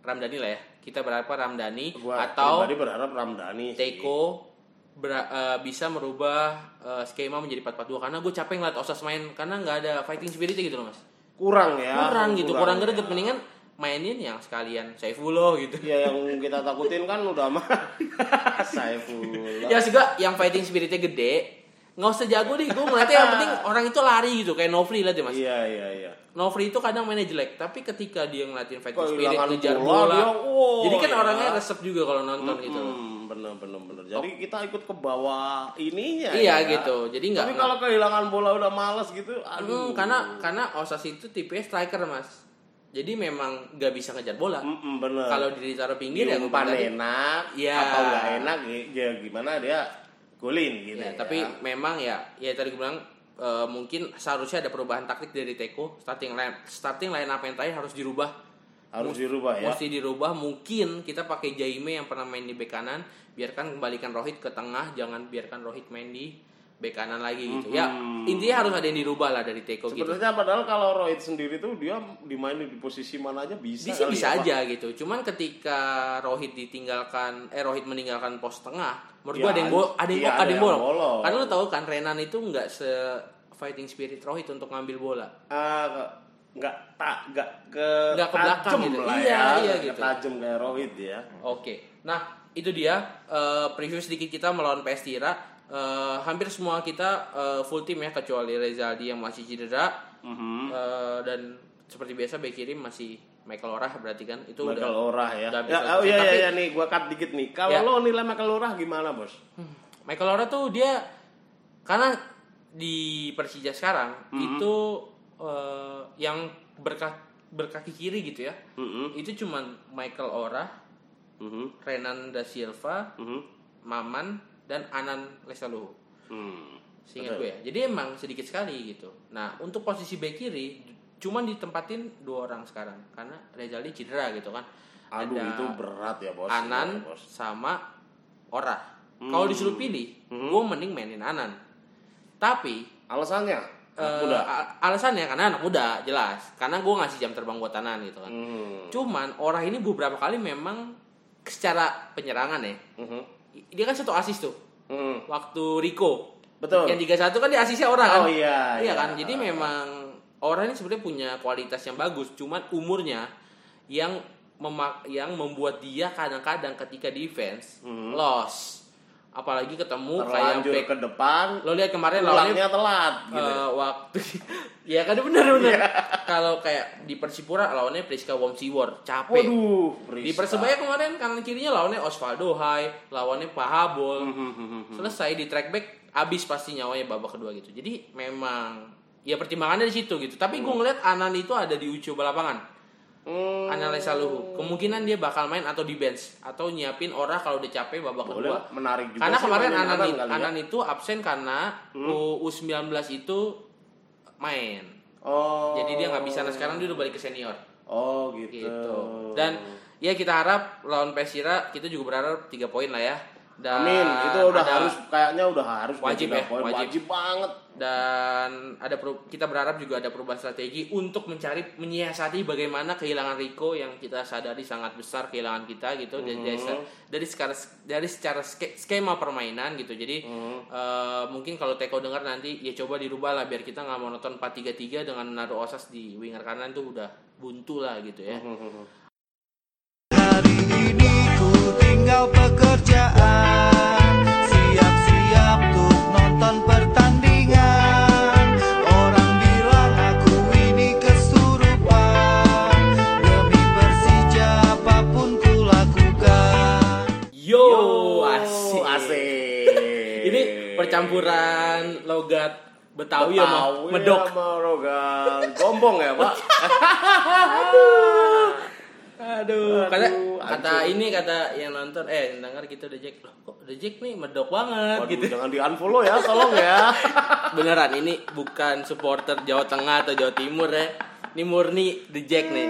Speaker 1: Ramdhani lah ya kita berharap Ramdhani
Speaker 2: Gua
Speaker 1: atau
Speaker 2: pribadi berharap Ramdhani. sih.
Speaker 1: Teko bera- eh, bisa merubah eh, skema menjadi 4-4-2 karena gue capek ngeliat Osas main karena nggak ada fighting spirit gitu loh mas
Speaker 2: kurang ya.
Speaker 1: kurang gitu kurang
Speaker 2: ya.
Speaker 1: greget mendingan mainin yang sekalian Saifullah gitu
Speaker 2: Ya yang kita takutin kan udah mah Saifullah.
Speaker 1: ya juga yang fighting spiritnya gede nggak usah jago deh gue ngeliatnya yang penting orang itu lari gitu kayak Novri lah deh mas
Speaker 2: Iya iya iya.
Speaker 1: Novri itu kadang mainnya jelek tapi ketika dia ngelatin fighting
Speaker 2: Kok
Speaker 1: spirit
Speaker 2: hilangan
Speaker 1: ngejar
Speaker 2: bola,
Speaker 1: bola
Speaker 2: dia, wow,
Speaker 1: jadi kan
Speaker 2: ya.
Speaker 1: orangnya resep juga kalau nonton gitu loh.
Speaker 2: Hmm, bener bener bener. Jadi kita ikut ke bawah ininya.
Speaker 1: iya
Speaker 2: ya.
Speaker 1: gitu jadi nggak
Speaker 2: Tapi kalau kehilangan bola udah males gitu, aduh.
Speaker 1: Hmm, karena karena Osas itu tipe striker mas jadi memang nggak bisa ngejar bola
Speaker 2: Mm-mm, bener.
Speaker 1: kalau ditaruh pinggir ya
Speaker 2: diumpan
Speaker 1: umpan
Speaker 2: enak
Speaker 1: Iya.
Speaker 2: atau nggak enak ya gimana dia golin gitu
Speaker 1: Ya,
Speaker 2: ya.
Speaker 1: tapi memang ya, ya tadi gue bilang eh, mungkin seharusnya ada perubahan taktik dari Teko starting line starting line up yang tadi harus dirubah
Speaker 2: harus dirubah ya
Speaker 1: mesti dirubah mungkin kita pakai Jaime yang pernah main di bek kanan biarkan kembalikan Rohit ke tengah jangan biarkan Rohit main di bek kanan lagi gitu ya intinya harus ada yang dirubah lah dari Teko gitu
Speaker 2: sebenarnya padahal kalau Rohit sendiri tuh dia dimainin di posisi mana aja
Speaker 1: Di
Speaker 2: bisa
Speaker 1: sih
Speaker 2: kali
Speaker 1: bisa
Speaker 2: ya, Pak.
Speaker 1: aja gitu. Cuman ketika Rohit ditinggalkan eh Rohit meninggalkan pos tengah, menurut
Speaker 2: Ya,
Speaker 1: gua ada yang bo- ada yang,
Speaker 2: iya,
Speaker 1: ada
Speaker 2: ada
Speaker 1: yang
Speaker 2: yang
Speaker 1: bolong.
Speaker 2: bolong.
Speaker 1: Karena lu tahu kan Renan itu nggak se fighting spirit Rohit untuk ngambil bola.
Speaker 2: Ah, ke- nggak tak nggak ke
Speaker 1: Nggak ke belakang
Speaker 2: tajem
Speaker 1: gitu.
Speaker 2: lah
Speaker 1: Iya,
Speaker 2: ya
Speaker 1: iya
Speaker 2: Nggak
Speaker 1: gitu.
Speaker 2: tajam kayak Rohit ya
Speaker 1: Oke. Nah, itu dia eh, preview sedikit kita melawan PS Tira. Eh, hampir semua kita eh, full tim ya kecuali Rezaldi yang masih cedera
Speaker 2: Mhm.
Speaker 1: Eh, dan seperti biasa bek kiri masih Michael Orah berarti kan itu
Speaker 2: Michael
Speaker 1: udah
Speaker 2: Orah ya.
Speaker 1: udah
Speaker 2: ya
Speaker 1: bisa
Speaker 2: oh,
Speaker 1: selesai.
Speaker 2: iya, iya,
Speaker 1: Tapi-
Speaker 2: iya, nih gua cut dikit nih. Kalau
Speaker 1: Ya.
Speaker 2: lo nilai Michael Orah gimana, Bos?
Speaker 1: Hmm. Michael Laura tuh dia karena di Persija sekarang
Speaker 2: Hmm.
Speaker 1: itu eh, yang berkaki, berkaki kiri gitu ya.
Speaker 2: Mhm,
Speaker 1: Itu cuman Michael Ora,
Speaker 2: mhm,
Speaker 1: Renan da Silva,
Speaker 2: mhm,
Speaker 1: Maman dan Anan Lesaluhu.
Speaker 2: hmm.
Speaker 1: Seingat gue
Speaker 2: Betul.
Speaker 1: ya. Jadi emang sedikit sekali gitu. Nah, untuk posisi bek kiri cuman ditempatin dua orang sekarang karena Rezali cedera gitu kan.
Speaker 2: Aduh,
Speaker 1: Ada
Speaker 2: itu berat ya, Bos.
Speaker 1: Anan
Speaker 2: Iya, Bos.
Speaker 1: sama Ora. Kalau disuruh pilih, gue mending mainin Anan. Tapi
Speaker 2: Alasannya?
Speaker 1: Eh,
Speaker 2: Udah.
Speaker 1: a- alasannya karena anak muda jelas karena gue ngasih jam terbang buat Tanan gitu kan
Speaker 2: Hmm.
Speaker 1: cuman orang ini beberapa kali memang secara penyerangan ya
Speaker 2: Mhm,
Speaker 1: i- dia kan satu asis tuh
Speaker 2: hmm.
Speaker 1: waktu Rico
Speaker 2: Betul.
Speaker 1: yang 31 kan dia asisnya orang kan
Speaker 2: Oh, iya,
Speaker 1: iya
Speaker 2: iya.
Speaker 1: kan jadi memang orang ini sebenarnya punya kualitas yang bagus cuman umurnya yang memak yang membuat dia kadang-kadang ketika defense loss apalagi ketemu
Speaker 2: Hmm. Terlanjur
Speaker 1: kayak
Speaker 2: ke depan,
Speaker 1: back lo lihat kemarin lawannya
Speaker 2: pulangnya telat gitu. Iya.
Speaker 1: Eh, waktu ya kan bener bener kalau kayak di Persipura lawannya Priska Womsiwor capek
Speaker 2: Waduh,
Speaker 1: di
Speaker 2: Priska.
Speaker 1: Persebaya kemarin kanan kirinya lawannya Osvaldo Hai lawannya Pak Habol
Speaker 2: Hmm.
Speaker 1: Mm-hmm. selesai di track back abis pasti nyawanya babak kedua gitu jadi memang ya pertimbangannya di situ gitu tapi
Speaker 2: Mm-hmm.
Speaker 1: gue ngeliat Anan itu ada di ucoba lapangan
Speaker 2: Hmm,
Speaker 1: analisa Luhu kemungkinan dia bakal main atau di bench atau nyiapin orang kalau udah capek babak
Speaker 2: boleh
Speaker 1: kedua
Speaker 2: lah, menarik juga.
Speaker 1: karena
Speaker 2: sih
Speaker 1: kemarin
Speaker 2: mainin
Speaker 1: Anan,
Speaker 2: kali ya. Mm-hmm.
Speaker 1: Anan itu absen karena U- U19 itu main.
Speaker 2: Oh.
Speaker 1: Jadi dia nggak bisa. Nah sekarang dia udah balik ke senior
Speaker 2: Oh, gitu.
Speaker 1: gitu. Dan ya kita harap lawan Persira kita juga berharap 3 poin lah ya. Dan
Speaker 2: Amin, itu udah
Speaker 1: ada-
Speaker 2: harus kayaknya udah harus
Speaker 1: Wajib ya,
Speaker 2: bagi poin.
Speaker 1: wajib.
Speaker 2: wajib banget.
Speaker 1: dan ada peru- kita berharap juga ada perubahan strategi untuk mencari menyiasati bagaimana kehilangan Rico yang kita sadari sangat besar kehilangan kita gitu dari dari, se- dari secara dari secara ske- skema permainan gitu jadi eh, mungkin kalau Teko dengar nanti ya coba dirubah lah biar kita nggak monoton 4-3-3 dengan menaruh osas di winger kanan tuh udah buntu lah gitu ya
Speaker 4: Hari ini ku tinggal pekerjaan Siap-siap tuh nonton pertandingan Orang bilang aku ini kesurupan Demi Persija apapun ku lakukan
Speaker 1: yo,
Speaker 2: asik.
Speaker 1: Oh, asik. ini percampuran logat Betawi, sama
Speaker 2: Betawi
Speaker 1: Medok
Speaker 2: sama ya, Rogan. Gombong ya, Pak?
Speaker 1: Aduh,
Speaker 2: Aduh,
Speaker 1: karena
Speaker 2: aduh.
Speaker 1: kata ini kata yang nonton eh yang denger gitu The Jack loh kok The Jack nih medok banget
Speaker 2: Waduh,
Speaker 1: gitu.
Speaker 2: jangan di-unfollow ya, tolong ya.
Speaker 1: Beneran ini bukan supporter Jawa Tengah atau Jawa Timur ya. Ini murni The Jack nih.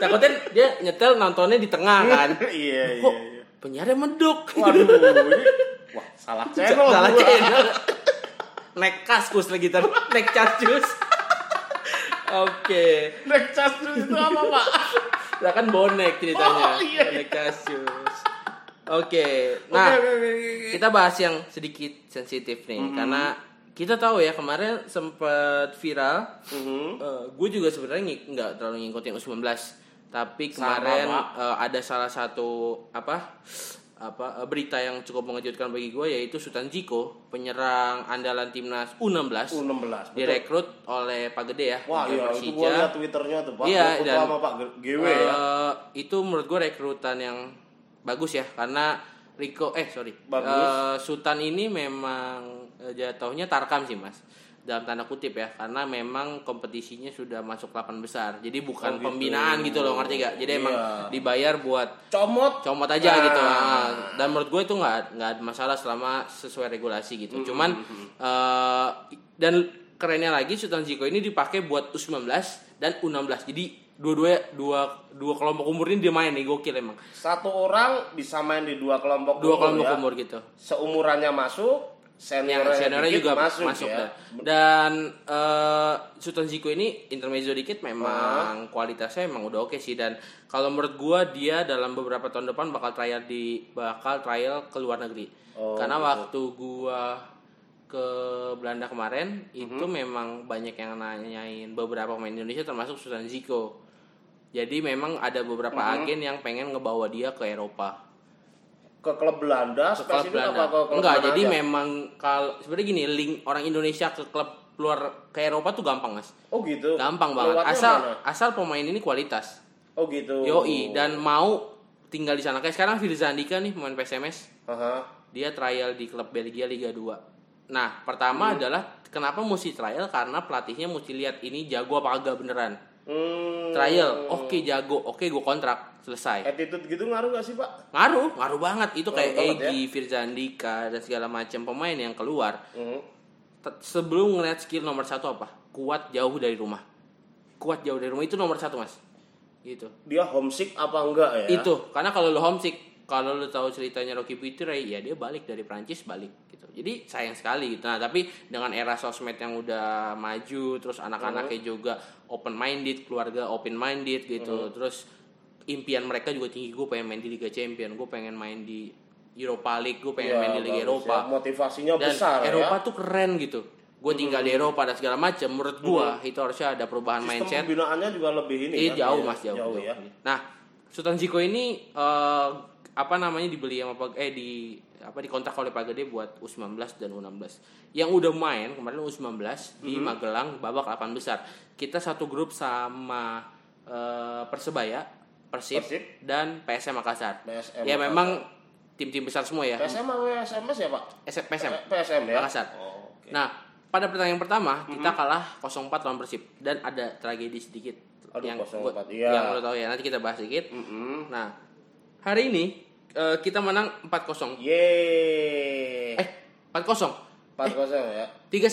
Speaker 1: Takutnya dia nyetel nontonnya di tengah kan.
Speaker 2: Iya, iya,
Speaker 1: Kok
Speaker 2: iya.
Speaker 1: penyiarnya medok.
Speaker 2: Waduh, ini wah salah channel.
Speaker 1: Salah
Speaker 2: gua.
Speaker 1: channel. Naik kaskus lagi tadi, naik charcus. Oke.
Speaker 2: Next charge dulu itu apa, Pak?
Speaker 1: Lah kan bonek ceritanya.
Speaker 2: Oh, iya.
Speaker 1: Bonek kasus. Oke. Nah,
Speaker 2: Oke, oke, oke, oke.
Speaker 1: kita bahas yang sedikit sensitif nih karena kita tahu ya kemarin sempat viral.
Speaker 2: Mhm.
Speaker 1: gue juga sebenarnya ngik- nggak terlalu ngikutin U19, tapi kemarin
Speaker 2: Pak.
Speaker 1: eh, ada salah satu apa? apa eh, berita yang cukup mengejutkan bagi gue yaitu Sultan Jiko penyerang andalan timnas U16
Speaker 2: U16. betul.
Speaker 1: direkrut oleh Pak Gede ya
Speaker 2: Wah,
Speaker 1: Liga
Speaker 2: iya, itu gua liat Twitternya tuh, Pak.
Speaker 1: Iya,
Speaker 2: Gua foto
Speaker 1: dan-
Speaker 2: sama Pak GW ya.
Speaker 1: Eh, itu menurut gue rekrutan yang bagus ya karena Rico eh sorry
Speaker 2: Bagus.
Speaker 1: Eh, Sultan ini memang eh, jatuhnya tarkam sih mas dalam tanda kutip ya karena memang kompetisinya sudah masuk 8 besar jadi bukan
Speaker 2: Oh, gitu.
Speaker 1: pembinaan gitu loh ngerti gak jadi emang
Speaker 2: Iya.
Speaker 1: dibayar buat
Speaker 2: Comot.
Speaker 1: comot aja
Speaker 2: Nah.
Speaker 1: gitu ah. dan menurut gue itu nggak nggak ada masalah selama sesuai regulasi
Speaker 2: Hmm,
Speaker 1: gitu cuman eh, dan kerennya lagi Sultan Ziko ini dipakai buat U19 dan U16 jadi dua-dua dua dua kelompok umur ini dia main nih gokil emang
Speaker 2: Satu orang bisa main di dua kelompok
Speaker 1: dua
Speaker 2: umur
Speaker 1: kelompok
Speaker 2: ya.
Speaker 1: umur gitu
Speaker 2: Seumurannya masuk,
Speaker 1: yang
Speaker 2: seniornya,
Speaker 1: seniornya
Speaker 2: dikit
Speaker 1: juga masuk,
Speaker 2: masuk,
Speaker 1: dah.
Speaker 2: ya.
Speaker 1: dan eh Sultan Ziko ini intermezzo dikit
Speaker 2: Ah.
Speaker 1: memang kualitasnya emang udah oke sih dan kalau menurut gua dia dalam beberapa tahun depan bakal trial di bakal trial ke luar negeri
Speaker 2: Oh,
Speaker 1: karena
Speaker 2: gitu.
Speaker 1: waktu gua ke Belanda kemarin
Speaker 2: Mhm.
Speaker 1: itu memang banyak yang nanyain beberapa pemain Indonesia termasuk Sultan Ziko jadi memang ada beberapa
Speaker 2: Mhm.
Speaker 1: agen yang pengen ngebawa dia ke Eropa
Speaker 2: Ke klub Belanda,
Speaker 1: ke klub
Speaker 2: spesifik
Speaker 1: Belanda.
Speaker 2: apa ke klub
Speaker 1: Enggak,
Speaker 2: mana
Speaker 1: jadi
Speaker 2: aja?
Speaker 1: memang kalau sebenarnya gini, link orang Indonesia ke klub luar ke Eropa tuh gampang, Mas.
Speaker 2: Oh gitu.
Speaker 1: Gampang banget.
Speaker 2: Lewatnya
Speaker 1: asal
Speaker 2: mana?
Speaker 1: asal pemain ini kualitas.
Speaker 2: Oh gitu.
Speaker 1: Yoi dan mau tinggal di sana. Kayak sekarang Firza Andika nih pemain PSMS,
Speaker 2: Aha.
Speaker 1: dia trial di klub Belgia Liga 2. Nah,
Speaker 2: Hmm.
Speaker 1: pertama adalah kenapa mesti trial karena pelatihnya mesti lihat ini jago apa agak beneran.
Speaker 2: Hmm,
Speaker 1: Trial, oke jago, oke gue kontrak, selesai.
Speaker 2: attitude gitu ngaruh gak sih, Pak?
Speaker 1: ngaruh ngaruh banget itu kayak
Speaker 2: Ngaruh banget, ya.
Speaker 1: Egi, Firza Andika dan segala macam pemain yang keluar
Speaker 2: Hmm.
Speaker 1: Te- sebelum ngeliat skill nomor satu apa kuat jauh dari rumah kuat jauh dari rumah itu nomor satu mas gitu
Speaker 2: Dia homesick apa enggak ya?
Speaker 1: itu karena kalau lo homesick kalau lo tahu ceritanya Rocky Pitre ya dia balik dari Prancis balik gitu jadi sayang sekali gitu nah tapi dengan era sosmed yang udah maju terus anak-anaknya
Speaker 2: Oh.
Speaker 1: juga open minded keluarga open minded gitu
Speaker 2: Oh.
Speaker 1: terus impian mereka juga tinggi gue pengen main di Liga Champion gue pengen main di Europa League gue pengen
Speaker 2: Ya,
Speaker 1: main di Liga
Speaker 2: bagus
Speaker 1: Eropa
Speaker 2: ya. Motivasinya
Speaker 1: dan
Speaker 2: besar
Speaker 1: Eropa
Speaker 2: ya. Hmm.
Speaker 1: tuh keren gitu gue tinggal di Eropa dan segala macam menurut gue itu harusnya ada perubahan
Speaker 2: Sistem
Speaker 1: mindset
Speaker 2: pembinaannya juga lebih ini
Speaker 1: Iya
Speaker 2: kan?
Speaker 1: jauh
Speaker 2: Iya,
Speaker 1: mas jauh.
Speaker 2: Jauh
Speaker 1: jauh.
Speaker 2: ya.
Speaker 1: Nah Sultan Ziko ini eh, apa namanya dibeli sama Pak eh di apa dikontrak oleh Pak Gede buat U19 dan U16 yang udah main kemarin U19 di
Speaker 2: Hmm.
Speaker 1: Magelang babak 8 besar kita satu grup sama eh, Persebaya Persib,
Speaker 2: Persib.
Speaker 1: dan PSM Makassar
Speaker 2: PSM
Speaker 1: ya
Speaker 2: Makassar.
Speaker 1: memang tim-tim besar semua ya
Speaker 2: PSM atau SMS ya, Pak?
Speaker 1: SM, PSM
Speaker 2: PSM ya.
Speaker 1: Makassar.
Speaker 2: Oh, oke. Mhm.
Speaker 1: Nah, pada pertandingan pertama kita kalah 0-4 lawan Persib dan ada tragedi sedikit
Speaker 2: Aduh,
Speaker 1: yang
Speaker 2: 0-4,
Speaker 1: gua-
Speaker 2: iya. Mhm.
Speaker 1: yang lo tahu ya. Nanti kita bahas sedikit.
Speaker 2: Mm-mm.
Speaker 1: Nah, hari ini eh, kita menang
Speaker 2: Iya.
Speaker 1: 4-0.
Speaker 2: Yeay.
Speaker 1: Eh, 4-0.
Speaker 2: 4-0 ya.
Speaker 1: 3-1.
Speaker 2: Tiga.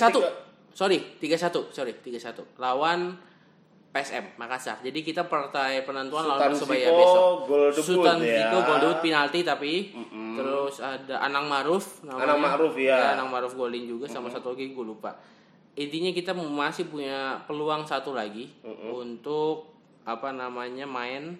Speaker 1: Sorry, 3-1. Sorry, 3-1. Lawan PSM Makassar. Jadi kita partai penentuan lawan
Speaker 2: Sultan
Speaker 1: Persebaya
Speaker 2: Ziko,
Speaker 1: besok.
Speaker 2: gol debut
Speaker 1: Sultan
Speaker 2: ya.
Speaker 1: Ziko gol debut penalti tapi terus ada Anang Maruf namanya.
Speaker 2: Anang Ma'ruf, ya.
Speaker 1: Anang Maruf golin juga sama satu lagi gue lupa. Intinya kita masih punya peluang satu lagi untuk apa namanya main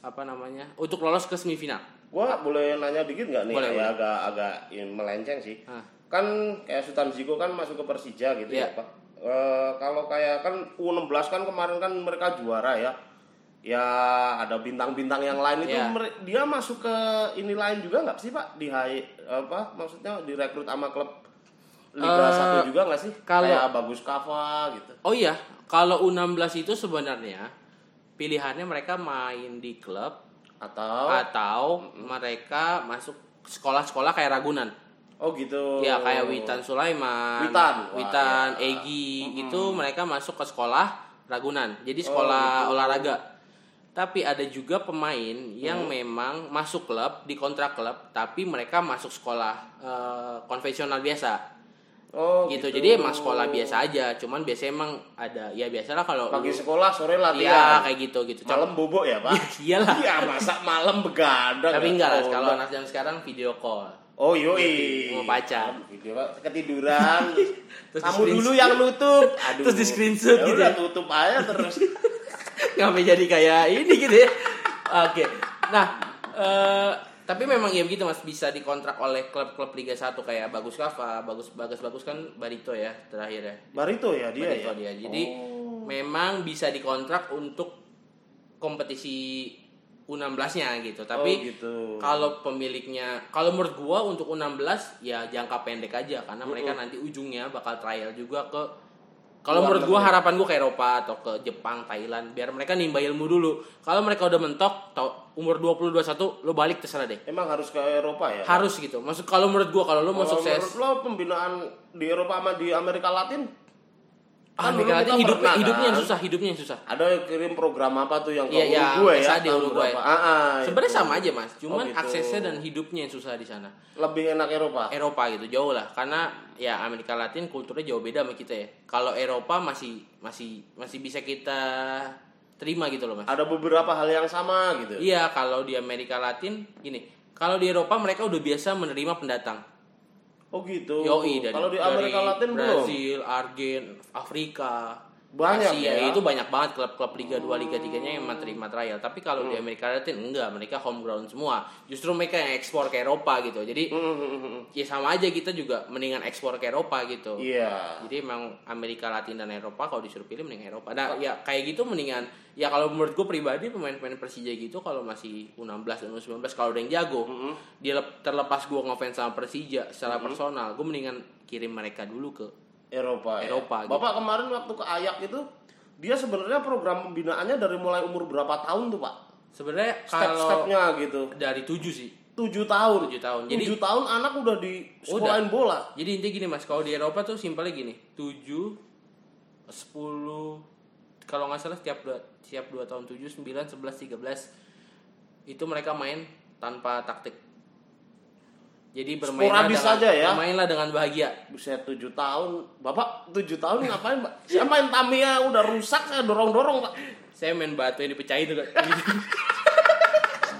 Speaker 1: apa namanya untuk lolos ke semifinal.
Speaker 2: Gua boleh nanya dikit nggak nih?
Speaker 1: Boleh,
Speaker 2: Kayak
Speaker 1: boleh.
Speaker 2: agak agak ya, melenceng sih.
Speaker 1: Ah.
Speaker 2: Kan kayak Sultan Ziko kan masuk ke Persija gitu
Speaker 1: Iya.
Speaker 2: ya, Pak. Eh, kalau kayak kan U16 kan kemarin kan mereka juara ya. Ya ada bintang-bintang yang lain itu
Speaker 1: Iya.
Speaker 2: mere- dia masuk ke ini lain juga nggak sih Pak? Di hi- apa maksudnya direkrut sama klub Liga
Speaker 1: Eh,
Speaker 2: 1 juga nggak sih?
Speaker 1: kalau-
Speaker 2: kayak Bagus Kava gitu.
Speaker 1: Oh iya, kalau U16 itu sebenarnya pilihannya mereka main di klub
Speaker 2: Atau
Speaker 1: atau mereka masuk sekolah-sekolah kayak Ragunan.
Speaker 2: oh gitu.
Speaker 1: Ya kayak Witan Sulaiman,
Speaker 2: Witan. Wah,
Speaker 1: Witan,
Speaker 2: iya.
Speaker 1: Egi itu mereka masuk ke sekolah Ragunan.
Speaker 2: Oh,
Speaker 1: Jadi sekolah
Speaker 2: gitu.
Speaker 1: olahraga. Tapi ada juga pemain
Speaker 2: Mm.
Speaker 1: yang memang masuk klub di kontrak klub tapi mereka masuk sekolah eh, konvensional biasa.
Speaker 2: Oh,
Speaker 1: gitu. Jadi emang sekolah biasa aja, cuman biasanya emang ada ya biasalah kalau
Speaker 2: Pagi
Speaker 1: lu-
Speaker 2: sekolah, sore
Speaker 1: Iya,
Speaker 2: latihan.
Speaker 1: kayak gitu gitu. Cuma-
Speaker 2: Malam bobok ya, Pak?
Speaker 1: Iyalah.
Speaker 2: Iya, masa malam begadang.
Speaker 1: Tapi
Speaker 2: ya?
Speaker 1: enggak lah,
Speaker 2: Oh,
Speaker 1: kalau
Speaker 2: enggak.
Speaker 1: anak zaman sekarang video call.
Speaker 2: Oh, yoi.
Speaker 1: Mau pacar.
Speaker 2: Video Pak, ketiduran.
Speaker 1: Terus
Speaker 2: Kamu
Speaker 1: di-screen-
Speaker 2: dulu yang nutup. Aduh.
Speaker 1: Terus di-screenshot
Speaker 2: Ya
Speaker 1: gitu
Speaker 2: udah,
Speaker 1: ya?
Speaker 2: tutup aja terus.
Speaker 1: Ngapain jadi kayak ini gitu ya. Oke. Nah, eh, tapi memang ya begitu Mas bisa dikontrak oleh klub-klub Liga 1 kayak Bagus Kava, Bagus Bagus Bagus kan Barito ya terakhir ya.
Speaker 2: Barito ya dia
Speaker 1: Barito
Speaker 2: ya.
Speaker 1: dia. Jadi
Speaker 2: Oh.
Speaker 1: memang bisa dikontrak untuk kompetisi U16-nya gitu. Tapi
Speaker 2: Oh, gitu.
Speaker 1: kalau pemiliknya kalau menurut gua untuk U16 ya jangka pendek aja karena mereka nanti ujungnya bakal trial juga ke kalau
Speaker 2: Luar
Speaker 1: menurut gua
Speaker 2: negeri.
Speaker 1: harapan gua ke Eropa atau ke Jepang, Thailand biar mereka nimba ilmu dulu. Kalau mereka udah mentok tau, umur 20 21 lo balik terserah deh.
Speaker 2: Emang harus ke Eropa ya?
Speaker 1: Harus gitu. Maksud kalau menurut gua kalau lo mau
Speaker 2: Kalau
Speaker 1: sukses
Speaker 2: menurut lo pembinaan di Eropa sama di Amerika Latin?
Speaker 1: ah,
Speaker 2: Kan
Speaker 1: Amerika
Speaker 2: dulu
Speaker 1: Latin
Speaker 2: kita
Speaker 1: hidupnya
Speaker 2: pernah,
Speaker 1: hidupnya yang
Speaker 2: kan?
Speaker 1: susah, hidupnya yang susah.
Speaker 2: Ada kirim program apa tuh yang ke
Speaker 1: Iya, iya,
Speaker 2: Uruguay ya?
Speaker 1: SAD
Speaker 2: tahun
Speaker 1: Uruguay.
Speaker 2: berapa? Ah, ah,
Speaker 1: Sebenarnya
Speaker 2: itu.
Speaker 1: sama aja mas, cuman
Speaker 2: Oh, gitu.
Speaker 1: aksesnya dan hidupnya yang susah di sana.
Speaker 2: Lebih enak Eropa.
Speaker 1: Eropa gitu jauh lah, karena ya Amerika Latin kulturnya jauh beda sama kita ya. Kalau Eropa masih masih masih bisa kita terima gitu loh mas
Speaker 2: Ada beberapa hal yang sama gitu.
Speaker 1: Iya, kalau di Amerika Latin gini, kalau di Eropa mereka udah biasa menerima pendatang.
Speaker 2: Oh gitu.
Speaker 1: Yoi dari,
Speaker 2: Kalau di
Speaker 1: dari
Speaker 2: Amerika Latin belum.
Speaker 1: Brazil, Argen, Afrika,
Speaker 2: Banyak
Speaker 1: Asia,
Speaker 2: ya? Oh.
Speaker 1: itu banyak banget klub-klub Liga 2, Liga 3-nya yang menerima trial. Tapi kalau
Speaker 2: Hmm.
Speaker 1: di Amerika Latin enggak, mereka home ground semua. Justru mereka yang ekspor ke Eropa gitu. Jadi
Speaker 2: Hmm, hmm, hmm, hmm.
Speaker 1: ya sama aja kita juga mendingan ekspor ke Eropa gitu.
Speaker 2: Iya.
Speaker 1: Jadi emang Amerika Latin dan Eropa kalau disuruh pilih mending Eropa. Nah, ya kayak gitu mendingan ya kalau menurut gue pribadi pemain-pemain Persija gitu kalau masih U16 dan U19 kalau ada yang jago, dia lep- terlepas gue ngefans sama Persija secara personal, gue mendingan kirim mereka dulu ke
Speaker 2: Eropa. ya.
Speaker 1: Eropa, gitu.
Speaker 2: Bapak kemarin waktu ke Ayak itu dia sebenarnya program pembinaannya dari mulai umur berapa tahun tuh pak?
Speaker 1: sebenarnya kalau
Speaker 2: Step-stepnya gitu.
Speaker 1: dari tujuh sih.
Speaker 2: Tujuh tahun.
Speaker 1: Tujuh tahun. Jadi-
Speaker 2: Tujuh tahun anak udah di sekolahin bola.
Speaker 1: Jadi intinya gini Mas, kalau di Eropa tuh simpelnya gini, 7 10 kalau nggak salah setiap dua setiap 2 tahun 7 9 11 13 itu mereka main tanpa taktik. Jadi bermainlah
Speaker 2: Sporadis
Speaker 1: dengan
Speaker 2: aja ya.
Speaker 1: bermainlah dengan bahagia.
Speaker 2: Buset tujuh tahun. Bapak tujuh tahun ngapain pak? Saya main Tamiya udah rusak saya dorong-dorong pak.
Speaker 1: Saya main batu yang dipecahin tuh. Kak.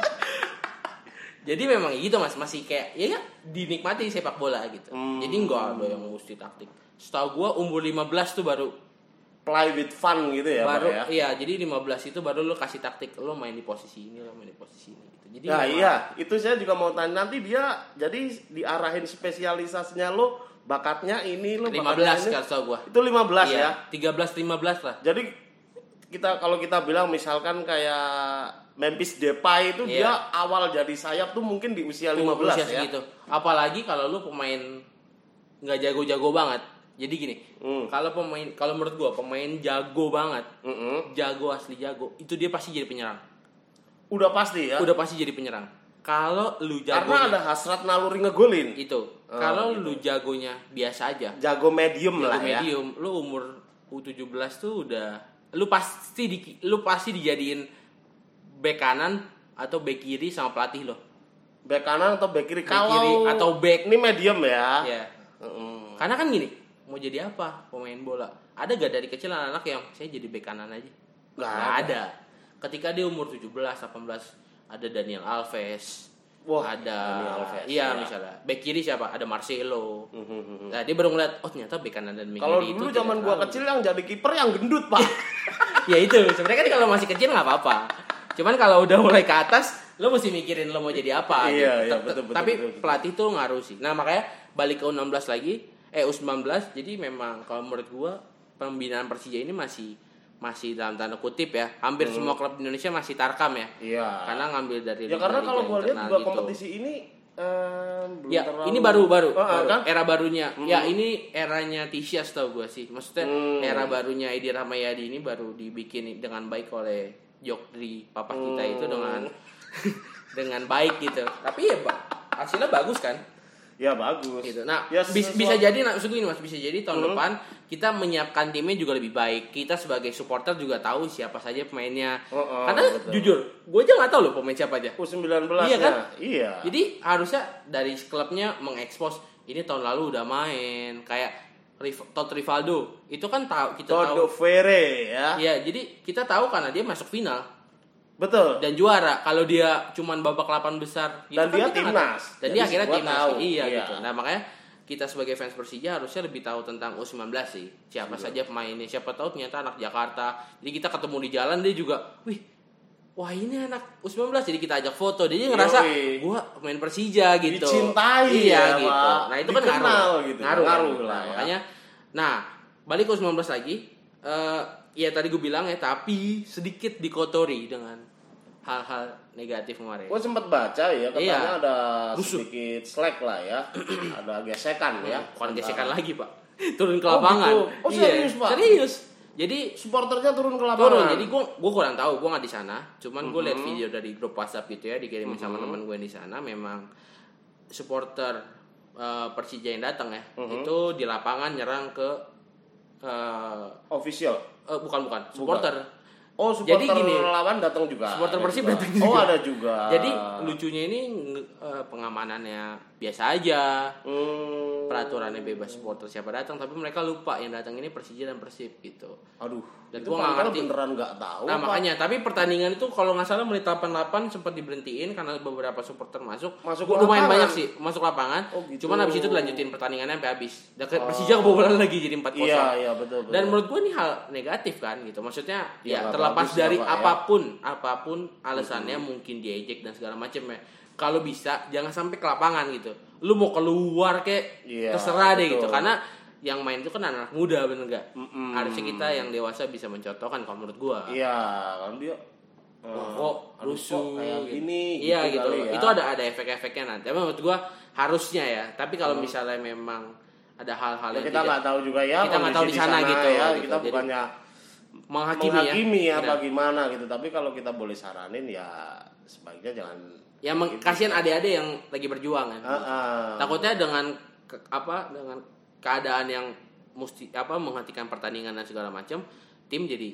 Speaker 1: Jadi memang gitu Mas, masih kayak ya nggak? dinikmati sepak bola gitu.
Speaker 2: Hmm.
Speaker 1: Jadi nggak ada yang mesti taktik. Setahu gua umur 15 tuh baru
Speaker 2: Play with fun gitu ya
Speaker 1: baru
Speaker 2: pak
Speaker 1: iya
Speaker 2: ya.
Speaker 1: jadi 15 itu baru lu kasih taktik lu main di posisi ini lu main di posisi ini gitu jadi
Speaker 2: Nah
Speaker 1: memang-
Speaker 2: iya, itu saya juga mau tanya nanti dia jadi diarahin spesialisasinya lo bakatnya ini
Speaker 1: 15
Speaker 2: lo bakatnya ini.
Speaker 1: kalau tau kan, gua
Speaker 2: Itu 15
Speaker 1: iya,
Speaker 2: ya.
Speaker 1: 13 15 lah
Speaker 2: Jadi kita kalau kita bilang misalkan kayak Memphis Depay itu
Speaker 1: Iya.
Speaker 2: dia awal jadi sayap tuh mungkin di usia 15
Speaker 1: usia
Speaker 2: ya.
Speaker 1: segitu apalagi kalau lu pemain nggak jago-jago banget jadi gini
Speaker 2: Hmm.
Speaker 1: kalau pemain kalau menurut gua pemain jago banget
Speaker 2: Mm-mm.
Speaker 1: jago asli jago itu dia pasti jadi penyerang
Speaker 2: Udah pasti ya.
Speaker 1: udah pasti jadi penyerang kalau lu
Speaker 2: Karena Ah, gitu.
Speaker 1: jago Iya.
Speaker 2: ada hasrat naluri ngegolin.
Speaker 1: itu kalau lu jagonya biasa aja
Speaker 2: Jago medium lah
Speaker 1: Jago
Speaker 2: ya.
Speaker 1: medium lu umur U17 tuh udah lu pasti di, lu pasti dijadiin back kanan atau back kiri sama pelatih lo
Speaker 2: Back kanan atau back kiri
Speaker 1: Back kiri
Speaker 2: kalau
Speaker 1: atau back.
Speaker 2: ini medium ya.
Speaker 1: ya
Speaker 2: Mm-mm.
Speaker 1: karena kan gini mau jadi apa pemain bola ada gak dari kecil anak-anak yang saya jadi back kanan aja
Speaker 2: Nggak
Speaker 1: Nggak ada ketika dia umur 17 18 ada Daniel Alves
Speaker 2: Wah,
Speaker 1: ada
Speaker 2: Daniel Alves,
Speaker 1: iya
Speaker 2: ya.
Speaker 1: misalnya back kiri siapa ada Marcelo
Speaker 2: Mhm.
Speaker 1: nah dia baru ngeliat oh ternyata back kanan dan back
Speaker 2: Kalau
Speaker 1: kiri itu
Speaker 2: dulu
Speaker 1: tidak
Speaker 2: zaman gua
Speaker 1: terlalu.
Speaker 2: kecil yang jadi kiper yang gendut, Pak.
Speaker 1: ya itu sebenarnya kan kalau masih kecil nggak apa-apa cuman kalau udah mulai ke atas lo mesti mikirin lo mau jadi apa
Speaker 2: Iya, iya,
Speaker 1: Tet-
Speaker 2: betul, betul,
Speaker 1: tapi
Speaker 2: betul, betul.
Speaker 1: pelatih tuh ngaruh sih nah makanya balik ke U16 lagi eh U19 jadi memang kalau menurut gua pembinaan Persija ini masih masih dalam tanda kutip ya hampir semua klub di Indonesia masih tarkam ya
Speaker 2: Hmm. Iya.
Speaker 1: karena ngambil dari
Speaker 2: ya karena
Speaker 1: liga-liga
Speaker 2: kalau gua lihat
Speaker 1: internal
Speaker 2: juga
Speaker 1: gitu.
Speaker 2: kompetisi ini eh, belum
Speaker 1: Ya,
Speaker 2: terlalu-
Speaker 1: ini baru baru,
Speaker 2: Ah, ah,
Speaker 1: baru.
Speaker 2: kan?
Speaker 1: era barunya. Ya, ini eranya Tisha tau gue sih. Maksudnya
Speaker 2: Hmm.
Speaker 1: era barunya Edi Ramayadi ini baru dibikin dengan baik oleh Jokri papa kita itu
Speaker 2: Hmm.
Speaker 1: dengan dengan baik gitu. Tapi ya Pak, hasilnya bagus kan?
Speaker 2: Ya bagus.
Speaker 1: Gitu. Nah,
Speaker 2: Ya,
Speaker 1: bis-
Speaker 2: sesuatu-
Speaker 1: bisa jadi nah, maksud gue ini Mas, bisa jadi
Speaker 2: Hmm.
Speaker 1: tahun depan kita menyiapkan timnya juga lebih baik. Kita sebagai supporter juga tahu siapa saja pemainnya.
Speaker 2: Oh, oh,
Speaker 1: Karena
Speaker 2: betul.
Speaker 1: jujur, gue aja nggak tahu loh pemain siapa aja.
Speaker 2: U19
Speaker 1: Iya kan?
Speaker 2: ya. Iya.
Speaker 1: Jadi harusnya dari klubnya mengekspos ini tahun lalu udah main kayak Riv- Todd Rivaldo itu kan tahu kita
Speaker 2: Todo
Speaker 1: tahu.
Speaker 2: Fere ya.
Speaker 1: Iya, jadi kita tahu karena dia masuk final
Speaker 2: Betul.
Speaker 1: dan juara. Kalau dia cuman babak 8 besar gitu
Speaker 2: Dan
Speaker 1: kan
Speaker 2: dia
Speaker 1: kita nggak
Speaker 2: timnas.
Speaker 1: tahu. Dan
Speaker 2: Jadi
Speaker 1: dia akhirnya
Speaker 2: semua
Speaker 1: timnas.
Speaker 2: tahu.
Speaker 1: Iya,
Speaker 2: Iya.
Speaker 1: gitu. Nah, makanya kita sebagai fans Persija harusnya lebih tahu tentang U19 sih. Siapa
Speaker 2: Iya.
Speaker 1: saja pemainnya, siapa tahu ternyata anak Jakarta. Jadi kita ketemu di jalan dia juga, wih, wah ini anak U19 jadi kita ajak foto. Dia ngerasa
Speaker 2: Yoi.
Speaker 1: gua main Persija gitu.
Speaker 2: Dicintai
Speaker 1: iya,
Speaker 2: ya,
Speaker 1: gitu.
Speaker 2: Pak.
Speaker 1: Nah, itu kan
Speaker 2: Dikenal
Speaker 1: ngaruh.
Speaker 2: gitu.
Speaker 1: Ngaruh, kan?
Speaker 2: Ngaruh lah,
Speaker 1: Nah,
Speaker 2: ya.
Speaker 1: Makanya nah, balik ke U19 lagi. Eh ya tadi gue bilang ya, tapi sedikit dikotori dengan hal-hal negatif kemarin.
Speaker 2: Gue sempat baca ya katanya
Speaker 1: Iya.
Speaker 2: ada
Speaker 1: Rusuh. Hmm,
Speaker 2: sedikit slack lah ya. ada gesekan ya.
Speaker 1: Bukan gesekan lagi pak turun ke
Speaker 2: Oh,
Speaker 1: lapangan Iya,
Speaker 2: gitu. Oh, serius, Pak?
Speaker 1: serius jadi
Speaker 2: Supporternya turun ke lapangan.
Speaker 1: turun jadi gue gue kurang tahu gue nggak di sana cuman gue lihat
Speaker 2: Mm-hmm.
Speaker 1: video dari grup WhatsApp gitu ya dikirimin sama teman gue yang di sana memang supporter eh, Persija yang datang ya
Speaker 2: Mm-hmm.
Speaker 1: itu di lapangan nyerang ke eh,
Speaker 2: official.
Speaker 1: eh, bukan bukan supporter
Speaker 2: Oh, supporter
Speaker 1: Jadi gini,
Speaker 2: lawan datang juga. Oh,
Speaker 1: supporter
Speaker 2: Ada
Speaker 1: Persib
Speaker 2: juga.
Speaker 1: datang juga.
Speaker 2: Oh, ada juga.
Speaker 1: Jadi lucunya ini nge- eh, pengamanannya biasa aja
Speaker 2: Hmm,
Speaker 1: peraturannya bebas supporter siapa datang tapi mereka lupa yang datang ini Persija dan Persib gitu
Speaker 2: aduh.
Speaker 1: Dan
Speaker 2: itu
Speaker 1: gua nggak
Speaker 2: Pangkal
Speaker 1: ngerti.
Speaker 2: beneran nggak tahu.
Speaker 1: Nah
Speaker 2: Pak.
Speaker 1: makanya, tapi pertandingan itu kalau nggak salah menit 88 sempat diberhentiin karena beberapa supporter masuk.
Speaker 2: Masuk
Speaker 1: Gua- lumayan
Speaker 2: lapangan.
Speaker 1: banyak sih masuk lapangan.
Speaker 2: Oh, gitu. Oh.
Speaker 1: Cuman habis itu dilanjutin pertandingannya sampai habis. Dan ke- Persija kebobolan lagi jadi 4-0.
Speaker 2: Iya, iya betul. betul.
Speaker 1: Dan menurut gue ini hal negatif kan gitu. Maksudnya
Speaker 2: Ya,
Speaker 1: ya,
Speaker 2: nggak
Speaker 1: terlepas
Speaker 2: bagus ya,
Speaker 1: dari
Speaker 2: Pak, ya.
Speaker 1: apapun, apapun alasannya mungkin diejek dan segala macem ya. Kalau bisa jangan sampai ke lapangan gitu. Lu mau keluar kek
Speaker 2: Iya,
Speaker 1: terserah deh gitu.
Speaker 2: betul.
Speaker 1: Karena yang main itu kan anak muda bener gak? Harusnya kita yang dewasa bisa mencontohkan kalau menurut gua
Speaker 2: iya, kan dia
Speaker 1: Wah,
Speaker 2: eh,
Speaker 1: kok
Speaker 2: aduh,
Speaker 1: rusuh
Speaker 2: kayak gini
Speaker 1: iya gitu,
Speaker 2: kali ya.
Speaker 1: itu ada ada efek-efeknya nanti tapi menurut gua harusnya ya tapi kalau misalnya memang ada hal-hal
Speaker 2: Ya,
Speaker 1: yang
Speaker 2: kita
Speaker 1: tidak
Speaker 2: nggak tahu juga ya
Speaker 1: kita nggak tahu
Speaker 2: kondisi
Speaker 1: di sana gitu,
Speaker 2: ya
Speaker 1: gitu.
Speaker 2: kita
Speaker 1: Jadi,
Speaker 2: bukannya
Speaker 1: menghakimi,
Speaker 2: menghakimi ya,
Speaker 1: ya, Benar.
Speaker 2: bagaimana gitu tapi kalau kita boleh saranin ya sebaiknya jangan
Speaker 1: ya meng-
Speaker 2: Gitu.
Speaker 1: kasihan adik-adik yang lagi berjuang kan
Speaker 2: Ah, ah.
Speaker 1: takutnya dengan ke- apa dengan keadaan yang mesti apa menghentikan pertandingan dan segala macam tim jadi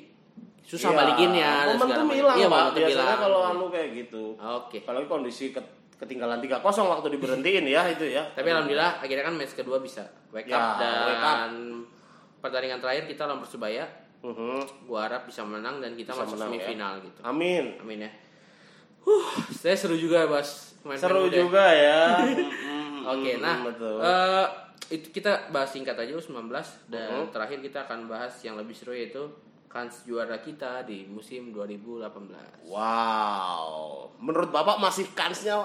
Speaker 1: susah
Speaker 2: Iya,
Speaker 1: balikinnya dan segala
Speaker 2: momentum
Speaker 1: macam.
Speaker 2: hilang
Speaker 1: Iya,
Speaker 2: Pak.
Speaker 1: momentum
Speaker 2: biasanya
Speaker 1: hilang.
Speaker 2: kalau anu kayak gitu
Speaker 1: oke
Speaker 2: apalagi kondisi ket- ketinggalan 3-0 waktu diberhentiin ya itu ya
Speaker 1: Tapi alhamdulillah akhirnya kan match kedua bisa wake
Speaker 2: Ya,
Speaker 1: up dan
Speaker 2: wake up.
Speaker 1: pertandingan terakhir kita lawan Persebaya.
Speaker 2: Mhm.
Speaker 1: Gua harap bisa menang dan kita
Speaker 2: Bisa
Speaker 1: masuk
Speaker 2: menang, ya.
Speaker 1: semifinal gitu.
Speaker 2: amin
Speaker 1: Amin ya. Huh, saya seru juga bahas main-main
Speaker 2: seru
Speaker 1: muda.
Speaker 2: juga ya Mm, mm,
Speaker 1: Oke,
Speaker 2: mm,
Speaker 1: nah
Speaker 2: betul.
Speaker 1: eh, itu kita bahas singkat aja U19 dan
Speaker 2: Mhm.
Speaker 1: terakhir kita akan bahas yang lebih seru yaitu kans juara kita di musim 2018.
Speaker 2: wow menurut bapak masih kansnya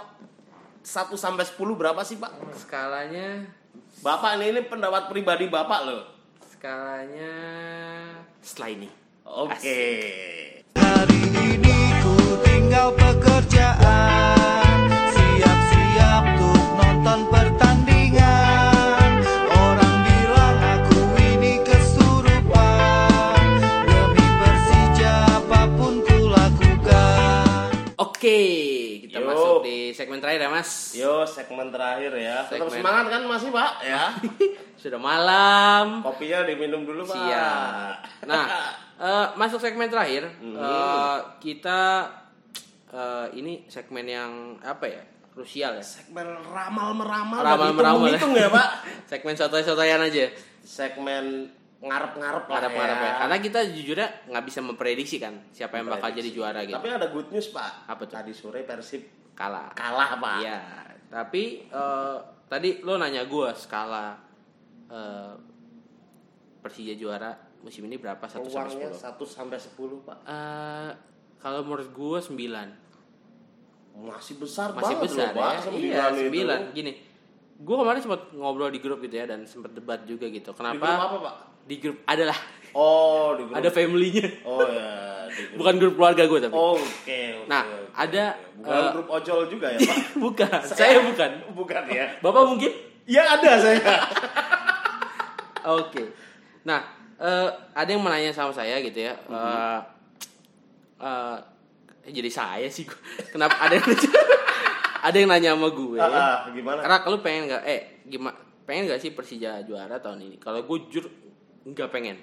Speaker 2: 1 sampai 10 berapa sih pak
Speaker 1: Skalanya
Speaker 2: bapak ini, ini pendapat pribadi bapak loh
Speaker 1: skalanya setelah ini.
Speaker 2: oke
Speaker 4: Hari ini ku tinggal pekerjaan Siap-siap tuh nonton pertandingan Orang bilang aku ini kesurupan Demi Persija apapun ku lakukan
Speaker 1: Oke, kita
Speaker 2: Yo.
Speaker 1: masuk di segmen terakhir ya Mas.
Speaker 2: Yo, segmen terakhir ya. Tetap
Speaker 1: Segmen.
Speaker 2: semangat kan masih, Pak? Ya.
Speaker 1: Sudah malam.
Speaker 2: Kopinya diminum dulu, Pak.
Speaker 1: Siap. Nah, eh, masuk segmen terakhir.
Speaker 2: Hmm.
Speaker 1: Eh, kita eh, ini segmen yang apa ya? Krusial ya.
Speaker 2: Segmen ramal meramal
Speaker 1: Ramal meramal.
Speaker 2: hitung ya, Pak.
Speaker 1: segmen sotoy-sotoyan aja.
Speaker 2: Segmen ngarep-ngarep lah.
Speaker 1: Harap-harap ya.
Speaker 2: ya.
Speaker 1: Karena kita jujurnya nggak bisa memprediksi kan siapa yang bakal jadi juara gitu.
Speaker 2: Tapi ada good news, Pak.
Speaker 1: Apa tuh?
Speaker 2: Tadi sore Persib
Speaker 1: Kalah.
Speaker 2: kalah, Pak.
Speaker 1: Iya. Tapi eh, tadi lo nanya gue skala eh, Persija juara musim ini berapa 1 sampai
Speaker 2: Peluangnya
Speaker 1: 10?
Speaker 2: 1 sampai 10, Pak.
Speaker 1: Eh, kalau menurut gue 9
Speaker 2: Masih besar
Speaker 1: masih
Speaker 2: banget
Speaker 1: besar
Speaker 2: loh, Pak.
Speaker 1: ya.
Speaker 2: Sembilan
Speaker 1: iya,
Speaker 2: itu.
Speaker 1: sembilan. Gini, gue kemarin sempat ngobrol di grup gitu ya dan sempat debat juga gitu.
Speaker 2: Di grup
Speaker 1: Kenapa
Speaker 2: apa, Pak?
Speaker 1: di grup adalah
Speaker 2: Oh, di grup.
Speaker 1: ada family-nya.
Speaker 2: Oh, ya. Di grup.
Speaker 1: bukan grup keluarga gue tapi.
Speaker 2: Oke, oke,
Speaker 1: Nah,
Speaker 2: oke,
Speaker 1: ada,
Speaker 2: oke. bukan
Speaker 1: eh,
Speaker 2: grup ojol juga ya, Pak?
Speaker 1: bukan, saya, bukan.
Speaker 2: Bukan ya.
Speaker 1: Bapak mungkin?
Speaker 2: Ya ada saya.
Speaker 1: Oke. Nah, eh, ada yang menanya sama saya gitu ya.
Speaker 2: Mhm.
Speaker 1: Eh, eh, jadi saya sih gua. Kenapa ada yang ada yang nanya sama gue?
Speaker 2: Ah, ah, gimana?
Speaker 1: Rak lu pengen nggak eh gimana pengen nggak sih Persija juara tahun ini? Kalau gue jujur nggak pengen.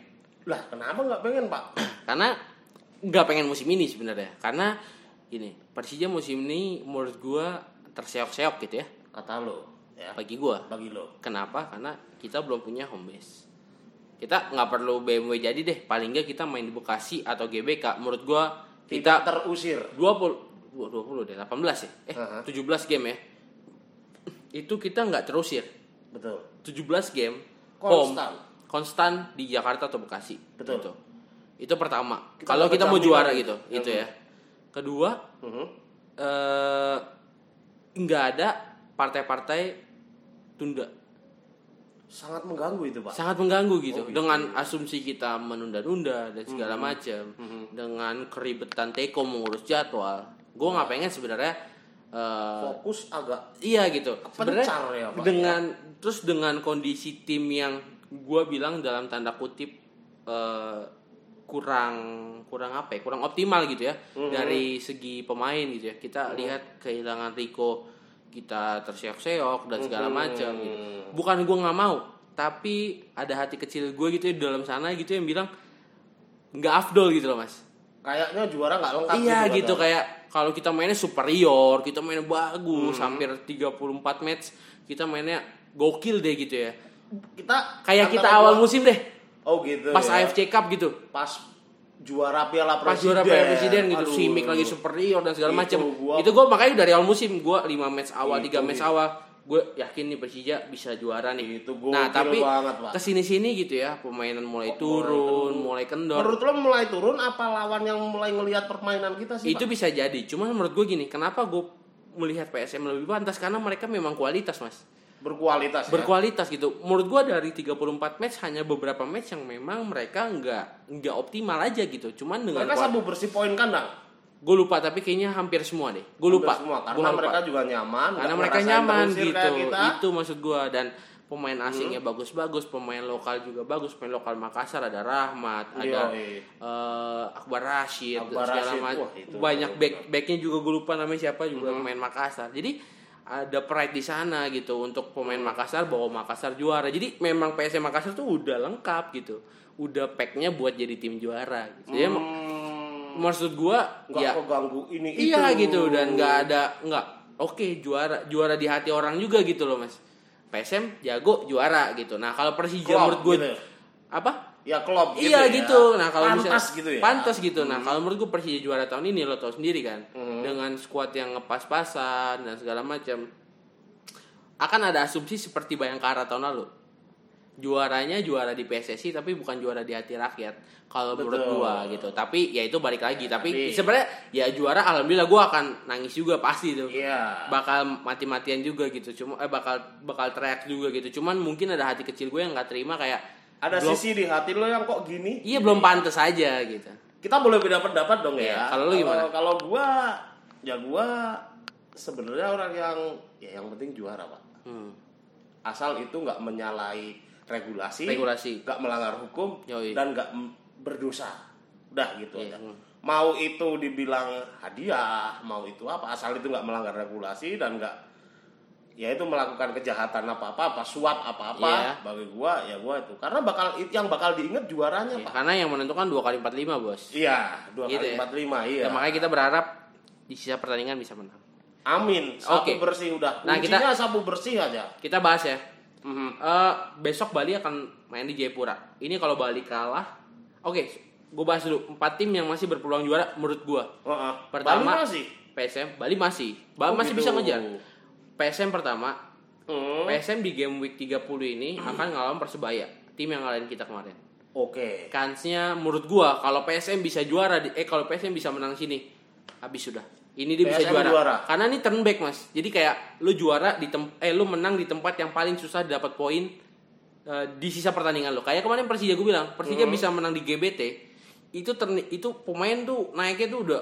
Speaker 2: Lah, kenapa nggak pengen Pak?
Speaker 1: Karena nggak pengen musim ini sebenarnya. Karena ini Persija musim ini menurut gue terseok-seok gitu ya
Speaker 2: Kata lo, ya.
Speaker 1: bagi gue.
Speaker 2: Bagi lo.
Speaker 1: Kenapa? Karena kita belum punya home base. Kita nggak perlu BMW jadi deh. Paling nggak kita main di Bekasi atau GBK. Menurut gue
Speaker 2: Tidak
Speaker 1: kita
Speaker 2: terusir.
Speaker 1: 20 wah, 20 deh 18 ya. Eh
Speaker 2: Aha.
Speaker 1: 17 game ya. Itu kita nggak terusir.
Speaker 2: Betul.
Speaker 1: 17 game
Speaker 2: Konstan.
Speaker 1: home konstan di Jakarta atau Bekasi
Speaker 2: Betul.
Speaker 1: Gitu. itu pertama
Speaker 2: Kita
Speaker 1: kalau
Speaker 2: dapat
Speaker 1: kita mau
Speaker 2: jaminan
Speaker 1: juara
Speaker 2: gitu.
Speaker 1: gitu itu ya kedua
Speaker 2: Mhm.
Speaker 1: eh, nggak ada partai-partai tunda
Speaker 2: Sangat mengganggu itu, Pak.
Speaker 1: sangat mengganggu gitu Hmm. dengan asumsi kita menunda-nunda dan segala macam dengan keribetan Teko mengurus jadwal gue nggak pengen sebenarnya eh,
Speaker 2: Fokus agak
Speaker 1: Iya gitu. Sebenarnya
Speaker 2: Pencar ya, Pak,
Speaker 1: dengan terus dengan kondisi tim yang gua bilang dalam tanda kutip eh, kurang kurang apa ya? Kurang optimal gitu ya
Speaker 2: Mm-hmm.
Speaker 1: dari segi pemain gitu ya. Kita lihat kehilangan Rico kita terseok-seok dan segala
Speaker 2: Mm-hmm.
Speaker 1: macam gitu. Bukan gua nggak mau, ya tapi ada hati kecil gue gitu ya di dalam sana gitu yang bilang nggak afdol gitu loh mas.
Speaker 2: kayaknya juara nggak lengkap
Speaker 1: iya
Speaker 2: kata.
Speaker 1: gitu, kayak kalau kita mainnya superior, kita mainnya bagus,
Speaker 2: Hmm.
Speaker 1: hampir 34 match, kita mainnya gokil deh gitu ya.
Speaker 2: kita
Speaker 1: Kayak
Speaker 2: antara
Speaker 1: kita
Speaker 2: dua-
Speaker 1: awal musim deh,
Speaker 2: oh gitu
Speaker 1: pas
Speaker 2: ya.
Speaker 1: AFC Cup gitu.
Speaker 2: pas juara Piala
Speaker 1: Pas
Speaker 2: Presiden
Speaker 1: juara Piala Presiden gitu,
Speaker 2: Aduh.
Speaker 1: Simic lagi superior dan segala
Speaker 2: Itu
Speaker 1: macam.
Speaker 2: gua-
Speaker 1: Itu gue makanya dari awal musim gue 5 match awal, 3
Speaker 2: Itu
Speaker 1: match
Speaker 2: dia.
Speaker 1: awal, gue yakin nih Persija bisa juara nih.
Speaker 2: Itu gokil
Speaker 1: nah, tapi
Speaker 2: banget, Pak.
Speaker 1: kesini-sini gitu ya, pemainan mulai turun, mulai kendor.
Speaker 2: menurut lo mulai turun apa lawan yang mulai ngelihat permainan kita sih
Speaker 1: itu
Speaker 2: Pak?
Speaker 1: bisa jadi cuman menurut gue gini kenapa gue melihat PSM lebih pantas karena mereka memang kualitas mas
Speaker 2: Iya. berkualitas ya?
Speaker 1: berkualitas gitu menurut gue dari 34 match hanya beberapa match yang memang mereka nggak nggak optimal aja gitu cuman dengan
Speaker 2: mereka sabu bersih poin kandang
Speaker 1: gue lupa tapi kayaknya hampir semua deh gue lupa
Speaker 2: Hampir semua karena
Speaker 1: Gua lupa.
Speaker 2: mereka juga nyaman
Speaker 1: karena
Speaker 2: nggak
Speaker 1: mereka
Speaker 2: ngerasain
Speaker 1: nyaman
Speaker 2: terusir
Speaker 1: gitu
Speaker 2: kayak kita. Hmm.
Speaker 1: itu maksud gue dan pemain asingnya bagus-bagus pemain lokal juga bagus pemain lokal Makassar ada Rahmat ada
Speaker 2: Yoi.
Speaker 1: eh, Akbar Rashid
Speaker 2: Akbar
Speaker 1: segala
Speaker 2: Rashid,
Speaker 1: macam
Speaker 2: wah, itu
Speaker 1: banyak
Speaker 2: bagus Hmm.
Speaker 1: back backnya juga gue lupa namanya siapa juga pemain Makassar jadi ada pride di sana gitu untuk
Speaker 2: Hmm.
Speaker 1: pemain Makassar bawa Makassar juara jadi memang PSM Makassar tuh udah lengkap gitu udah packnya buat jadi tim juara gitu ya mak-
Speaker 2: Hmm,
Speaker 1: maksud gue ya
Speaker 2: nggak keganggu ini
Speaker 1: Iya
Speaker 2: itu.
Speaker 1: gitu dan nggak ada nggak oke juara juara di hati orang juga gitu loh mas. PSM jago juara gitu. Nah kalau Persija
Speaker 2: Klop,
Speaker 1: menurut gue
Speaker 2: gitu.
Speaker 1: apa?
Speaker 2: ya klop gitu
Speaker 1: iya
Speaker 2: ya.
Speaker 1: gitu. Nah kalau
Speaker 2: pantas
Speaker 1: misalnya-
Speaker 2: gitu ya
Speaker 1: Pantas gitu. Nah kalau menurut gue Persija juara tahun ini lo tau sendiri kan
Speaker 2: Hmm.
Speaker 1: dengan skuad yang ngepas-pasan dan segala macam akan ada asumsi seperti Bayangkara tahun lalu. Juaranya juara di PSSI tapi bukan juara di hati rakyat kalau menurut
Speaker 2: Betul.
Speaker 1: gua gitu. Tapi ya itu balik lagi tapi,
Speaker 2: tapi-
Speaker 1: sebenarnya ya juara alhamdulillah gua akan nangis juga pasti tuh.
Speaker 2: iya
Speaker 1: Bakal mati-matian juga gitu. Cuma eh bakal bakal teriak juga gitu. Cuman mungkin ada hati kecil gue yang nggak terima kayak
Speaker 2: ada
Speaker 1: belum-
Speaker 2: sisi di hati lo yang kok gini
Speaker 1: Iya belum pantas aja gitu.
Speaker 2: kita boleh beda pendapat dong
Speaker 1: Iya,
Speaker 2: ya.
Speaker 1: kalau lu gimana?
Speaker 2: Kalau gua ya gua sebenarnya orang yang ya yang penting juara, Pak.
Speaker 1: Hmm.
Speaker 2: Asal itu nggak menyalahi regulasi,
Speaker 1: Regulasi.
Speaker 2: nggak melanggar hukum
Speaker 1: Yoi.
Speaker 2: dan nggak m- berdosa. Udah gitu
Speaker 1: Iya,
Speaker 2: aja.
Speaker 1: hmm.
Speaker 2: Mau itu dibilang hadiah, mau itu apa, asal itu nggak melanggar regulasi dan nggak ya itu melakukan kejahatan apa-apa, apa suap apa-apa,
Speaker 1: Iya.
Speaker 2: bagi gua ya gua itu. Karena bakal yang bakal diingat juaranya,
Speaker 1: Ya,
Speaker 2: Pak.
Speaker 1: karena yang menentukan dua kali 45 bos.
Speaker 2: Iya, dua
Speaker 1: Gitu
Speaker 2: kali
Speaker 1: ya.
Speaker 2: empat lima, iya.
Speaker 1: Ya, makanya kita berharap di sisa pertandingan bisa menang.
Speaker 2: Amin. Sabu
Speaker 1: Oke.
Speaker 2: bersih udah.
Speaker 1: Nah, kita-
Speaker 2: Kuncinya sabu bersih aja.
Speaker 1: Kita bahas ya. Eh, besok Bali akan main di Jayapura. Ini kalau Bali kalah, oke, gue bahas dulu empat tim yang masih berpeluang juara menurut gue.
Speaker 2: Heeh.
Speaker 1: Pertama-
Speaker 2: Bali masih.
Speaker 1: PSM Bali masih, Bali
Speaker 2: Oh,
Speaker 1: masih
Speaker 2: gitu.
Speaker 1: bisa ngejar. PSM pertama,
Speaker 2: Hmm.
Speaker 1: PSM di game week 30 ini akan ngalahin Persebaya, tim yang ngalahin kita kemarin.
Speaker 2: Oke.
Speaker 1: Kansnya menurut gua kalau PSM bisa juara di- eh kalau PSM bisa menang sini habis sudah. Ini dia bisa
Speaker 2: PSM
Speaker 1: juara.
Speaker 2: juara.
Speaker 1: Karena ini turn back, Mas. Jadi kayak lu juara di tem eh lu menang di tempat yang paling susah dapat poin eh, di sisa pertandingan lo. Kayak kemarin Persija gue bilang, Persija
Speaker 2: Hmm.
Speaker 1: bisa menang di GBT. Itu turn- itu pemain tuh naiknya tuh udah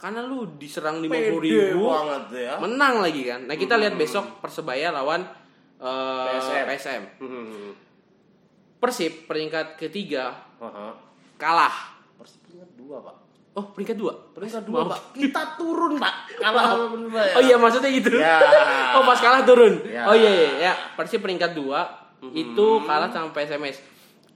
Speaker 1: karena lu diserang 50
Speaker 2: Pede
Speaker 1: ribu
Speaker 2: banget Hmm. ya.
Speaker 1: menang lagi kan. Nah, kita lihat besok Persebaya lawan eh,
Speaker 2: PSM.
Speaker 1: PSM.
Speaker 2: Hmm.
Speaker 1: Persib peringkat ketiga
Speaker 2: Heeh.
Speaker 1: kalah
Speaker 2: Persib peringkat dua pak.
Speaker 1: Oh peringkat dua?
Speaker 2: Peringkat
Speaker 1: Mas,
Speaker 2: dua
Speaker 1: maaf.
Speaker 2: pak. Kita turun pak. Kalau bener
Speaker 1: Oh iya maksudnya gitu.
Speaker 2: Ya.
Speaker 1: oh pas kalah turun.
Speaker 2: Ya.
Speaker 1: Oh iya, iya ya. Persib peringkat dua itu kalah sama PSMS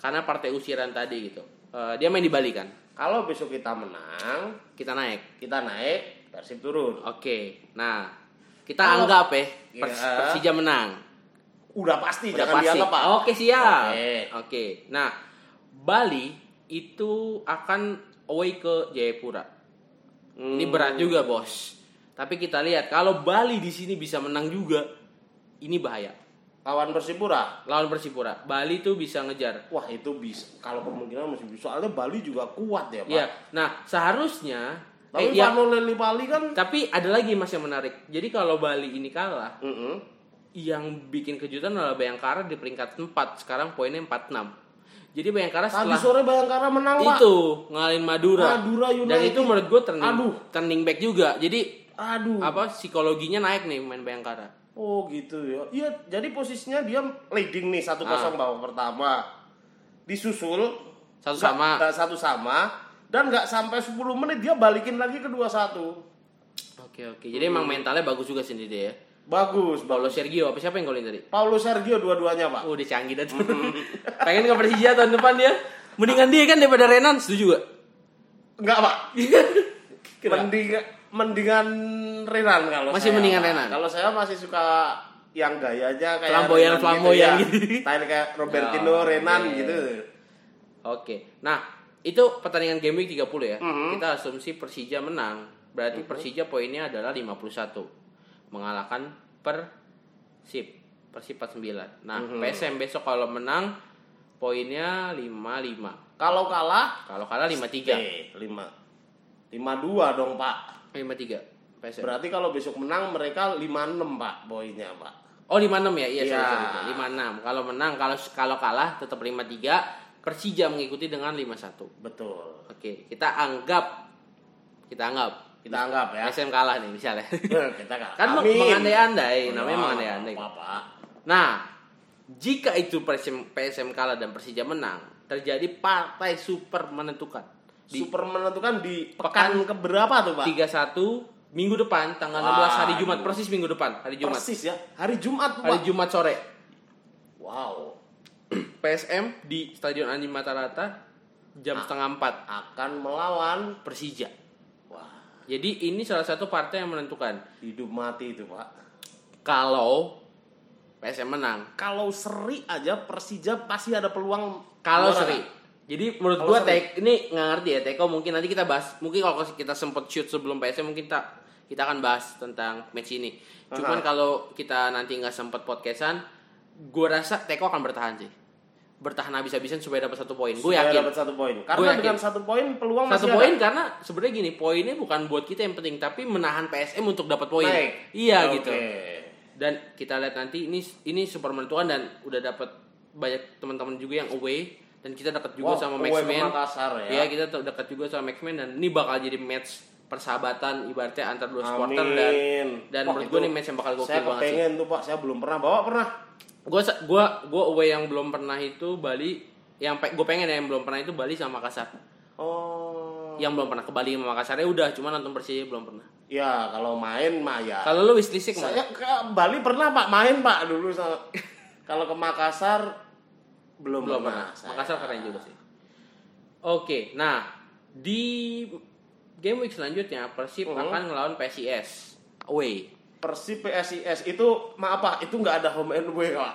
Speaker 1: karena partai usiran tadi gitu. Eh, dia main di Bali kan.
Speaker 2: Kalau besok kita menang,
Speaker 1: Kita naik.
Speaker 2: kita naik, Persib turun.
Speaker 1: Oke. Nah kita
Speaker 2: Kalau-
Speaker 1: anggap ya Pers-
Speaker 2: Oh. Iya.
Speaker 1: Persija menang.
Speaker 2: Udah pasti,
Speaker 1: Udah
Speaker 2: jangan
Speaker 1: pasti.
Speaker 2: dianggap pak.
Speaker 1: Oke siap.
Speaker 2: Oke.
Speaker 1: Oke. Nah Bali itu akan away ke Jayapura. Ini
Speaker 2: Hmm.
Speaker 1: berat juga bos. Tapi kita lihat kalau Bali di sini bisa menang juga, ini bahaya.
Speaker 2: Lawan Persipura.
Speaker 1: Lawan Persipura, Bali tuh bisa ngejar.
Speaker 2: Wah itu bisa. Kalau kemungkinan masih bisa. Soalnya Bali juga kuat ya pak.
Speaker 1: Iya. Nah seharusnya,
Speaker 2: Tapi
Speaker 1: eh, ya,
Speaker 2: Vano Leli Bali kan.
Speaker 1: tapi ada lagi mas yang menarik. Jadi kalau Bali ini kalah,
Speaker 2: Mm-mm.
Speaker 1: yang bikin kejutan adalah Bayangkara di peringkat 4 sekarang poinnya 46. Jadi Bayangkara
Speaker 2: Tadi
Speaker 1: setelah
Speaker 2: sore Bayangkara menang pak.
Speaker 1: itu ngalahin Madura.
Speaker 2: Madura United.
Speaker 1: Dan itu menurut gue turning,
Speaker 2: Aduh.
Speaker 1: turning back juga. Jadi
Speaker 2: Aduh.
Speaker 1: apa psikologinya naik nih main Bayangkara.
Speaker 2: Oh gitu ya. Iya, jadi posisinya dia leading nih 1-0
Speaker 1: Ah.
Speaker 2: bawah pertama. Disusul
Speaker 1: Satu
Speaker 2: nggak-
Speaker 1: sama.
Speaker 2: nggak satu sama dan nggak sampai 10 menit dia balikin lagi ke 2-1.
Speaker 1: Oke oke. Jadi emang mentalnya bagus juga sendiri dia ya.
Speaker 2: Bagus,
Speaker 1: Paulo
Speaker 2: bagus.
Speaker 1: Sergio apa siapa yang golin tadi?
Speaker 2: Paulo Sergio dua-duanya, Pak.
Speaker 1: Oh, udah canggih dah tuh. Pengen ke Persija tahun depan dia. Mendingan dia kan daripada Renan, setuju gak?
Speaker 2: Enggak, Pak. Mendingan mendingan Renan kalau
Speaker 1: Masih
Speaker 2: saya,
Speaker 1: mendingan
Speaker 2: Pak.
Speaker 1: Renan?
Speaker 2: Kalau saya masih suka yang gayanya kayak
Speaker 1: Flamboyan,
Speaker 2: Renan
Speaker 1: flamboyan
Speaker 2: gitu.
Speaker 1: gitu.
Speaker 2: ya. Style kayak Robertino,
Speaker 1: Oh,
Speaker 2: Renan
Speaker 1: iya.
Speaker 2: gitu.
Speaker 1: Oke. Nah, itu pertandingan game week 30 ya. Kita asumsi Persija menang. Berarti Persija poinnya adalah 51. Mengalahkan Persib. Persib 49. Nah, PSM besok kalau menang poinnya 55.
Speaker 2: Kalau kalah
Speaker 1: Kalau kalah 53.
Speaker 2: eh, lima lima dua dong Pak.
Speaker 1: 53. PSM.
Speaker 2: Berarti kalau besok menang mereka lima enam Pak poinnya Pak.
Speaker 1: Oh 56 ya? Iya, sorry,
Speaker 2: Iya.
Speaker 1: sorry, sorry. 56. Kalau menang, kalau kalau kalah tetap 53. Persija mengikuti dengan 51.
Speaker 2: Betul.
Speaker 1: Oke, kita anggap kita anggap
Speaker 2: Kita anggap ya.
Speaker 1: SM kalah nih misalnya.
Speaker 2: Nah, kita kalah.
Speaker 1: kan
Speaker 2: Amin.
Speaker 1: mengandai-andai, namanya
Speaker 2: Wah,
Speaker 1: mengandai-andai.
Speaker 2: apa, Pak.
Speaker 1: Nah, jika itu PSM, PSM kalah dan Persija menang, terjadi partai super menentukan. Di
Speaker 2: Super menentukan kan di pekan, keberapa tuh Pak?
Speaker 1: 31 minggu depan tanggal 16
Speaker 2: Wah,
Speaker 1: hari Jumat,
Speaker 2: aduh.
Speaker 1: persis minggu depan, hari Jumat.
Speaker 2: Persis ya. Hari Jumat Pak.
Speaker 1: Hari Jumat sore.
Speaker 2: Wow.
Speaker 1: PSM di Stadion Andi Matarata
Speaker 2: Ah.
Speaker 1: jam setengah empat
Speaker 2: Akan melawan
Speaker 1: Persija.
Speaker 2: wah
Speaker 1: Jadi ini salah satu partai yang menentukan.
Speaker 2: hidup mati itu Pak.
Speaker 1: Kalau PSM menang,
Speaker 2: Kalau seri aja Persija pasti ada peluang
Speaker 1: Kalau
Speaker 2: juara.
Speaker 1: seri. Jadi menurut
Speaker 2: Kalau
Speaker 1: gua
Speaker 2: seri.
Speaker 1: tek ini nggak ngerti ya Teko mungkin nanti kita bahas mungkin kalau kita sempat shoot sebelum PSM mungkin kita kita akan bahas tentang match ini. Cuman
Speaker 2: Aha.
Speaker 1: kalau kita nanti nggak sempat podcastan, gua rasa Teko akan bertahan sih. Bertahan habis-habisan supaya dapat satu poin. Gue
Speaker 2: Supaya
Speaker 1: yakin.
Speaker 2: dapat satu poin. Karena
Speaker 1: Gua yakin.
Speaker 2: dengan satu poin peluang
Speaker 1: Satu
Speaker 2: masih ada.
Speaker 1: poin karena sebenarnya gini, poinnya bukan buat kita yang penting tapi menahan PSM untuk dapat poin.
Speaker 2: Baik.
Speaker 1: Iya
Speaker 2: Oke.
Speaker 1: gitu. Dan kita lihat nanti ini ini super menentukan dan udah dapat banyak teman-teman juga yang away dan kita dekat juga
Speaker 2: Wow,
Speaker 1: sama
Speaker 2: away ke
Speaker 1: Maxman.
Speaker 2: Makassar ya.
Speaker 1: Iya, kita tuh dekat juga sama Maxman dan ini bakal jadi match persahabatan ibaratnya antar dua supporter dan
Speaker 2: Amin.
Speaker 1: dan
Speaker 2: Wah,
Speaker 1: menurut
Speaker 2: itu
Speaker 1: gue nih match yang bakal gokil
Speaker 2: Saya
Speaker 1: banget sih.
Speaker 2: kepengen tuh Pak, saya belum pernah bawa pernah.
Speaker 1: Gue gua gua away yang belum pernah itu Bali yang pe, gue pengen ya, yang belum pernah itu Bali sama Makassar.
Speaker 2: Oh.
Speaker 1: Yang belum pernah ke Bali sama Makassarnya udah, cuman nonton Persija belum pernah.
Speaker 2: Ya, kalau main mah ya.
Speaker 1: Kalau lu wishlistnya kemana?
Speaker 2: Saya ke Bali pernah Pak main Pak dulu sama kalau ke Makassar belum,
Speaker 1: belum pernah.
Speaker 2: pernah. saya.
Speaker 1: Makassar keren juga sih. Oke, nah di game week selanjutnya Persib
Speaker 2: Mhm.
Speaker 1: akan ngelawan PSIS Mm-hmm. away.
Speaker 2: Persib PSIS itu maaf Pak, itu nggak ada home and away Pak.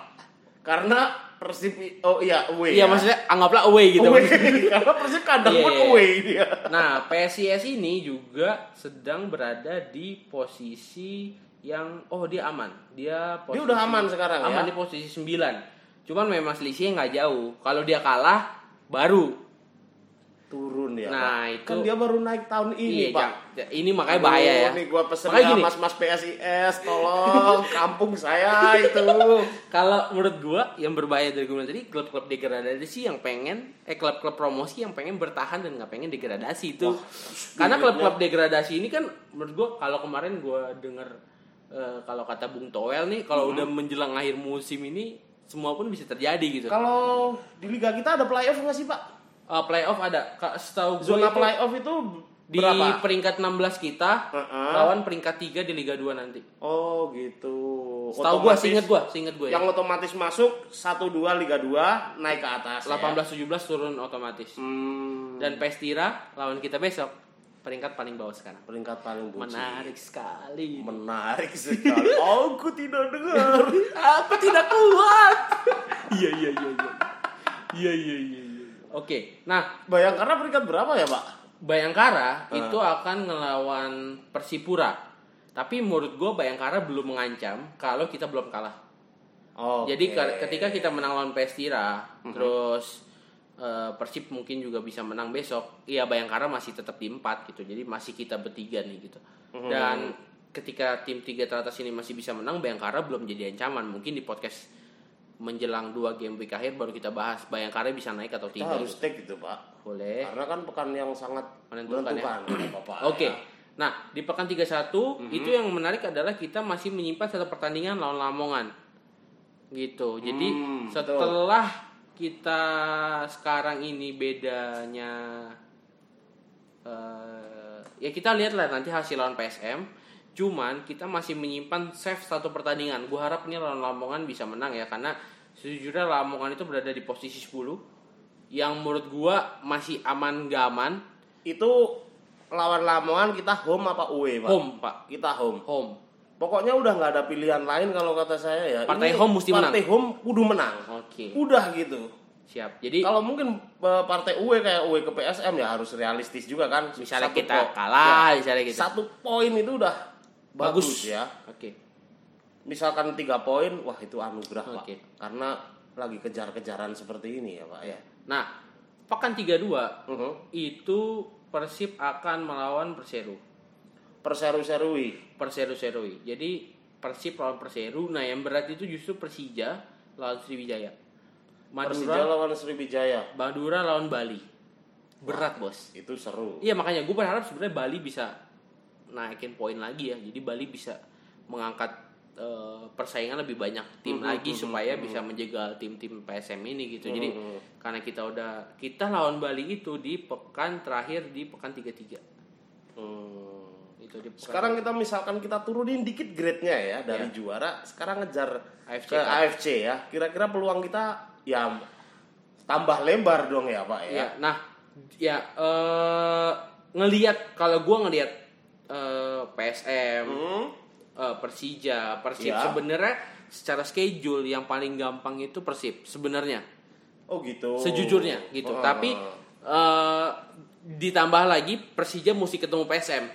Speaker 2: Karena Persib oh iya away.
Speaker 1: Iya
Speaker 2: ya.
Speaker 1: maksudnya anggaplah away gitu.
Speaker 2: away. Karena Persib kandang
Speaker 1: Iya,
Speaker 2: pun
Speaker 1: iya, iya.
Speaker 2: away dia.
Speaker 1: Nah PSIS ini juga sedang berada di posisi yang oh dia aman. Dia posisi,
Speaker 2: udah aman sekarang,
Speaker 1: Aman
Speaker 2: ya?
Speaker 1: di posisi 9 Cuman memang selisihnya nggak jauh. Kalau dia kalah baru
Speaker 2: Turun ya.
Speaker 1: Nah,
Speaker 2: Pak.
Speaker 1: itu-
Speaker 2: kan dia baru naik tahun ini
Speaker 1: Iya,
Speaker 2: Pak.
Speaker 1: jang- ini makanya bahaya ya.
Speaker 2: Ini gua pesen
Speaker 1: Makanya
Speaker 2: ya
Speaker 1: gini,
Speaker 2: mas-mas PSIS tolong kampung saya itu.
Speaker 1: Kalau menurut gua yang berbahaya dari gue tadi klub-klub degradasi yang pengen eh klub-klub promosi yang pengen bertahan dan nggak pengen degradasi itu.
Speaker 2: iya,
Speaker 1: Karena klub-klub degradasi ini kan menurut gua kalau kemarin gua denger eh, kalau kata Bung Toel nih
Speaker 2: Hmm.
Speaker 1: kalau udah menjelang akhir musim ini semua pun bisa terjadi gitu.
Speaker 2: Kalau di liga kita ada playoff nggak sih Pak?
Speaker 1: Eh, playoff ada Ka- setahu gue
Speaker 2: Zona playoff itu
Speaker 1: di
Speaker 2: berapa?
Speaker 1: peringkat 16 kita
Speaker 2: Heeh.
Speaker 1: lawan peringkat 3 di Liga 2 nanti.
Speaker 2: Oh gitu.
Speaker 1: Setahu gua
Speaker 2: Otomatis-
Speaker 1: seinget gua, seinget gua. ya.
Speaker 2: Yang otomatis masuk 1-2 Liga 2 naik ke atas. ya.
Speaker 1: 18-17 turun otomatis.
Speaker 2: Hmm,
Speaker 1: dan Pestira lawan kita besok peringkat paling bawah sekarang.
Speaker 2: peringkat paling buci.
Speaker 1: Menarik sekali.
Speaker 2: Menarik sekali. Aku tidak dengar.
Speaker 1: Aku tidak kuat. Iya iya iya iya. Iya iya iya. iya. Oke, nah
Speaker 2: Bayangkara peringkat berapa ya Pak?
Speaker 1: Bayangkara itu akan ngelawan Persipura. Tapi menurut gue Bayangkara belum mengancam kalau kita belum kalah.
Speaker 2: Oke. Mm-hmm.
Speaker 1: Jadi ke- ketika kita menang lawan Pestira, terus eh, Persib mungkin juga bisa menang besok. Iya Bayangkara masih tetap di 4 gitu. Jadi masih kita bertiga nih gitu.
Speaker 2: Mm-hmm.
Speaker 1: Dan ketika tim tiga teratas ini masih bisa menang, Bayangkara belum jadi ancaman. Mungkin di podcast menjelang dua game week akhir baru kita bahas Bayangkara bisa naik atau
Speaker 2: kita
Speaker 1: tidak. gitu.
Speaker 2: harus take itu Pak.
Speaker 1: Boleh.
Speaker 2: Karena kan pekan yang sangat
Speaker 1: Menentukan,
Speaker 2: menentukan. ya, Bapak,
Speaker 1: Oke.
Speaker 2: ya.
Speaker 1: Nah, di pekan 31
Speaker 2: Mhm.
Speaker 1: itu yang menarik adalah kita masih menyimpan satu pertandingan lawan Lamongan. Gitu. Jadi
Speaker 2: Hmm,
Speaker 1: setelah kita sekarang ini bedanya eh, ya kita lihatlah nanti hasil lawan PSM. Cuman kita masih menyimpan save satu pertandingan. Gua harap ini lawan Lamongan bisa menang ya karena sejujurnya Lamongan itu berada di posisi 10 yang menurut gua masih aman gak aman
Speaker 2: Itu lawan Lamongan kita home apa away, Pak?
Speaker 1: Home, Pak.
Speaker 2: Kita home.
Speaker 1: Home.
Speaker 2: Pokoknya udah nggak ada pilihan lain kalau kata saya ya.
Speaker 1: Partai
Speaker 2: Ini
Speaker 1: home mesti menang.
Speaker 2: Partai home kudu menang.
Speaker 1: Oke.
Speaker 2: Udah gitu.
Speaker 1: Siap. Jadi
Speaker 2: Kalau mungkin eh, partai UE kayak UE ke PSM ya harus realistis juga kan.
Speaker 1: misalnya
Speaker 2: Satu
Speaker 1: kita
Speaker 2: po-
Speaker 1: kalah, gitu.
Speaker 2: ya,
Speaker 1: misalnya kita
Speaker 2: Satu poin itu udah bagus, ya.
Speaker 1: Oke.
Speaker 2: Misalkan tiga poin, wah itu anugerah
Speaker 1: Oke.
Speaker 2: pak. Karena lagi kejar-kejaran seperti ini ya pak ya.
Speaker 1: Nah, pekan 32
Speaker 2: Mhm.
Speaker 1: itu Persib akan melawan Perseru.
Speaker 2: Perseru-serui.
Speaker 1: Perseru-serui. Jadi Persib lawan Perseru. Nah, yang berat itu justru Persija lawan Sriwijaya.
Speaker 2: Persija
Speaker 1: Madura,
Speaker 2: lawan Sriwijaya
Speaker 1: Madura lawan Bali. Berat, Bos.
Speaker 2: itu seru.
Speaker 1: Iya, makanya gue berharap sebenarnya Bali bisa naikin poin lagi ya. Jadi Bali bisa mengangkat eh, persaingan lebih banyak tim lagi supaya bisa menjegal tim-tim PSM ini gitu. Jadi karena kita udah kita lawan Bali itu di pekan terakhir di pekan 33.
Speaker 2: Hmm.
Speaker 1: Itu di pekan
Speaker 2: Sekarang kita misalkan kita turunin dikit grade-nya ya
Speaker 1: Iya.
Speaker 2: dari juara, sekarang ngejar
Speaker 1: AFC
Speaker 2: ke
Speaker 1: Cup.
Speaker 2: AFC ya. Kira-kira peluang kita ya tambah lebar dong ya pak ya.
Speaker 1: Iya, nah, ya eh ngelihat kalau gua ngelihat eh, PSM,
Speaker 2: Hmm.
Speaker 1: eh, Persija, Persib
Speaker 2: Iya.
Speaker 1: sebenarnya secara schedule yang paling gampang itu Persib sebenarnya.
Speaker 2: Oh gitu.
Speaker 1: Sejujurnya gitu.
Speaker 2: Oh.
Speaker 1: Tapi eh ditambah lagi Persija mesti ketemu PSM.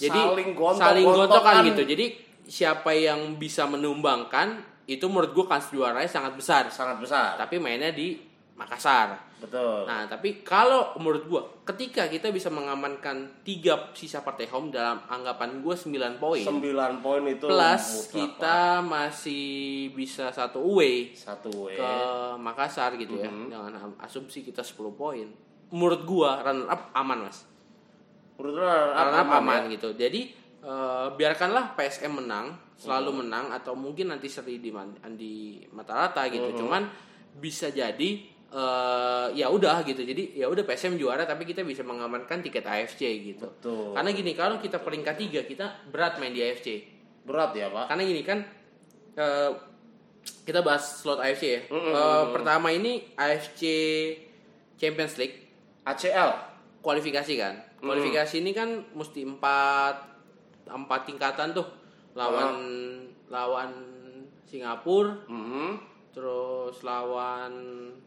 Speaker 1: Jadi
Speaker 2: Saling gontok-
Speaker 1: saling gontokan
Speaker 2: gontokan.
Speaker 1: gitu. Jadi siapa yang bisa menumbangkan itu menurut gua kan juaranya sangat besar.
Speaker 2: sangat besar.
Speaker 1: Tapi mainnya di Makassar.
Speaker 2: Betul.
Speaker 1: Nah, tapi kalau menurut gua, ketika kita bisa mengamankan tiga sisa partai home dalam anggapan gua 9 poin,
Speaker 2: 9 poin itu
Speaker 1: plus
Speaker 2: mutlak, Pak.
Speaker 1: kita masih bisa satu away
Speaker 2: satu eh. W.
Speaker 1: ke Makassar gitu ya,
Speaker 2: Mm-hmm.
Speaker 1: dengan asumsi kita 10 poin. Menurut gua runner up aman, Mas.
Speaker 2: Menurut lu runner up
Speaker 1: Runner up
Speaker 2: aman
Speaker 1: aman
Speaker 2: ya?
Speaker 1: gitu. Jadi eh, biarkanlah PSM menang, selalu
Speaker 2: Mm-hmm.
Speaker 1: menang atau mungkin nanti seri di man- di mata rata
Speaker 2: Mm-hmm.
Speaker 1: gitu. Cuman bisa jadi eh, ya udah gitu. Jadi ya udah PSM juara tapi kita bisa mengamankan tiket AFC gitu.
Speaker 2: Betul.
Speaker 1: Karena gini kalau kita peringkat 3 kita berat main di AFC.
Speaker 2: Berat ya, Pak.
Speaker 1: Karena gini kan eh, kita bahas slot AFC ya. Eh, pertama ini AFC Champions League
Speaker 2: ACL.
Speaker 1: kualifikasi kan kualifikasi ini kan mesti empat empat tingkatan tuh lawan
Speaker 2: Ah.
Speaker 1: lawan Singapura
Speaker 2: Mhm.
Speaker 1: Mm-hmm. terus lawan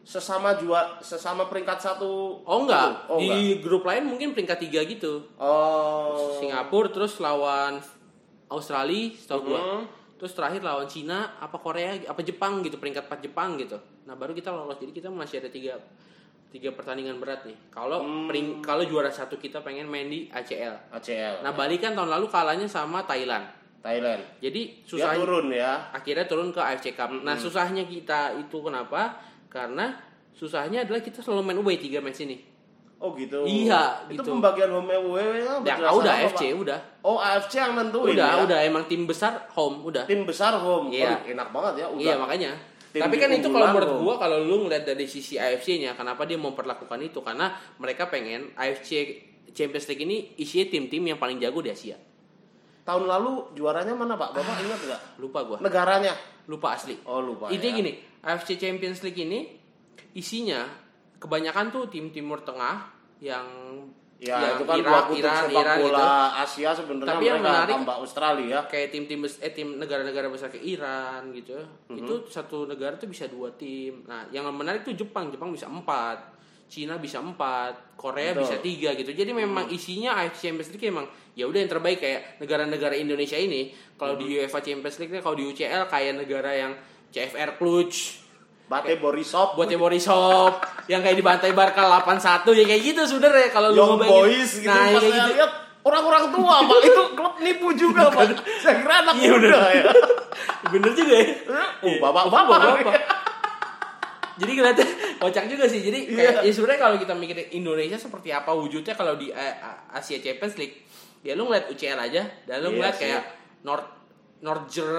Speaker 2: Sesama juara sesama peringkat satu.
Speaker 1: oh enggak
Speaker 2: Oh,
Speaker 1: di
Speaker 2: enggak.
Speaker 1: grup lain mungkin peringkat tiga gitu
Speaker 2: Oh.
Speaker 1: Singapura terus lawan Australia setahu gua
Speaker 2: Mhm.
Speaker 1: terus terakhir lawan Cina apa Korea apa Jepang gitu peringkat 4 Jepang gitu nah baru kita lolos jadi kita masih ada tiga tiga pertandingan berat nih kalau
Speaker 2: Hmm.
Speaker 1: pering- kalau juara satu kita pengen main di ACL
Speaker 2: ACL.
Speaker 1: Nah Bali kan tahun lalu kalahnya sama Thailand.
Speaker 2: Thailand.
Speaker 1: Jadi
Speaker 2: Dia
Speaker 1: susah
Speaker 2: turun Hmm. ya.
Speaker 1: akhirnya turun ke AFC Cup. Nah susahnya kita itu kenapa? Karena susahnya adalah kita selalu main away tiga match ini.
Speaker 2: Oh gitu.
Speaker 1: Iya,
Speaker 2: Itu
Speaker 1: gitu.
Speaker 2: pembagian home away
Speaker 1: Ya
Speaker 2: ya. berdasarkan
Speaker 1: udah
Speaker 2: apa,
Speaker 1: AFC
Speaker 2: Pak?
Speaker 1: udah.
Speaker 2: Oh AFC yang nentuin
Speaker 1: udah
Speaker 2: ya?
Speaker 1: udah emang tim besar home udah.
Speaker 2: Tim besar home.
Speaker 1: Iya.
Speaker 2: Oh, enak banget ya. Udah.
Speaker 1: Iya makanya.
Speaker 2: Tim
Speaker 1: Tapi kan
Speaker 2: di
Speaker 1: itu kalau menurut
Speaker 2: unggulan loh.
Speaker 1: gua kalau lu ngeliat dari sisi AFC-nya kenapa dia memperlakukan itu? Karena mereka pengen AFC Champions League ini isinya tim-tim yang paling jago di Asia.
Speaker 2: Tahun lalu juaranya mana Pak? Bapak
Speaker 1: Ah.
Speaker 2: ingat nggak?
Speaker 1: Lupa gua.
Speaker 2: Negaranya.
Speaker 1: Lupa asli.
Speaker 2: Oh lupa.
Speaker 1: Intinya
Speaker 2: ya.
Speaker 1: gini, AFC Champions League ini isinya kebanyakan tuh tim Timur Tengah yang
Speaker 2: Ya
Speaker 1: yang
Speaker 2: itu kan dua
Speaker 1: Irak,
Speaker 2: kutub
Speaker 1: Iya, Iran,
Speaker 2: sepak
Speaker 1: Iran
Speaker 2: bola
Speaker 1: gitu.
Speaker 2: Asia sebenarnya
Speaker 1: Tapi yang
Speaker 2: mereka
Speaker 1: menarik-
Speaker 2: tambah Australia.
Speaker 1: Kayak tim-tim bes- eh tim negara-negara besar kayak Iran gitu.
Speaker 2: Mhm.
Speaker 1: Itu satu negara tuh bisa dua tim. Nah, yang menarik tuh Jepang, Jepang bisa empat. Cina bisa empat, Korea
Speaker 2: Betul.
Speaker 1: bisa tiga gitu. Jadi memang isinya AFC Champions League emang ya udah yang terbaik kayak negara-negara Indonesia ini. Kalau
Speaker 2: Mhm.
Speaker 1: di UEFA Champions League, kalau di UCL kayak negara yang CFR Cluj,
Speaker 2: Bate Borisov.
Speaker 1: buat yang Borisov yang kayak dibantai Barca 8-1 ya kayak gitu sebenernya kalau lu
Speaker 2: Young
Speaker 1: mau bayangin.
Speaker 2: Boys gitu.
Speaker 1: nah, ya
Speaker 2: Pas
Speaker 1: kayak
Speaker 2: saya
Speaker 1: gitu.
Speaker 2: lihat orang-orang tua Pak. Itu klub nipu juga Pak. Saya kira anak
Speaker 1: Iya,
Speaker 2: muda
Speaker 1: bener.
Speaker 2: ya.
Speaker 1: bener juga ya
Speaker 2: Oh bapak-bapak.
Speaker 1: Bapak-bapak. jadi kelihatan kocak juga sih jadi kayak ya
Speaker 2: Iya.
Speaker 1: sebenarnya kalau kita mikir Indonesia seperti apa wujudnya kalau di eh, Asia Champions League ya lu ngeliat UCL aja dan lu
Speaker 2: Iya
Speaker 1: ngeliat
Speaker 2: sih.
Speaker 1: kayak North Norger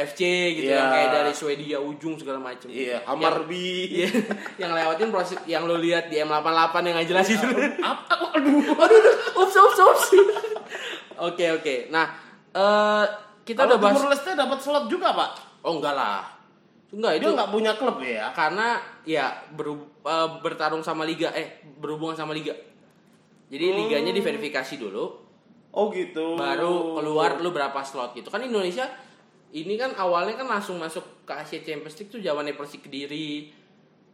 Speaker 1: FC gitu
Speaker 2: Iya.
Speaker 1: yang kayak dari Swedia ujung segala macam
Speaker 2: Iya,
Speaker 1: Yang-
Speaker 2: Hammarby.
Speaker 1: Iya, yang lewatin proses yang lo lihat di M88 yang nggak
Speaker 2: Iya.
Speaker 1: jelas itu.
Speaker 2: Apa? Aduh.
Speaker 1: ups, ups, ups. Oke, oke. Nah, eh kita udah
Speaker 2: Kalau
Speaker 1: bahas.
Speaker 2: Timur Leste dapat slot juga Pak.
Speaker 1: Oh, enggak lah. Enggak itu
Speaker 2: Dia nggak punya klub
Speaker 1: e,
Speaker 2: ya.
Speaker 1: karena ya beru- eh, bertarung sama liga eh berhubungan sama liga. Jadi liganya diverifikasi dulu,
Speaker 2: Oh gitu.
Speaker 1: baru keluar lu berapa slot gitu. Kan Indonesia ini kan awalnya kan langsung masuk ke Asia Champions League tuh zamannya Persik Kediri.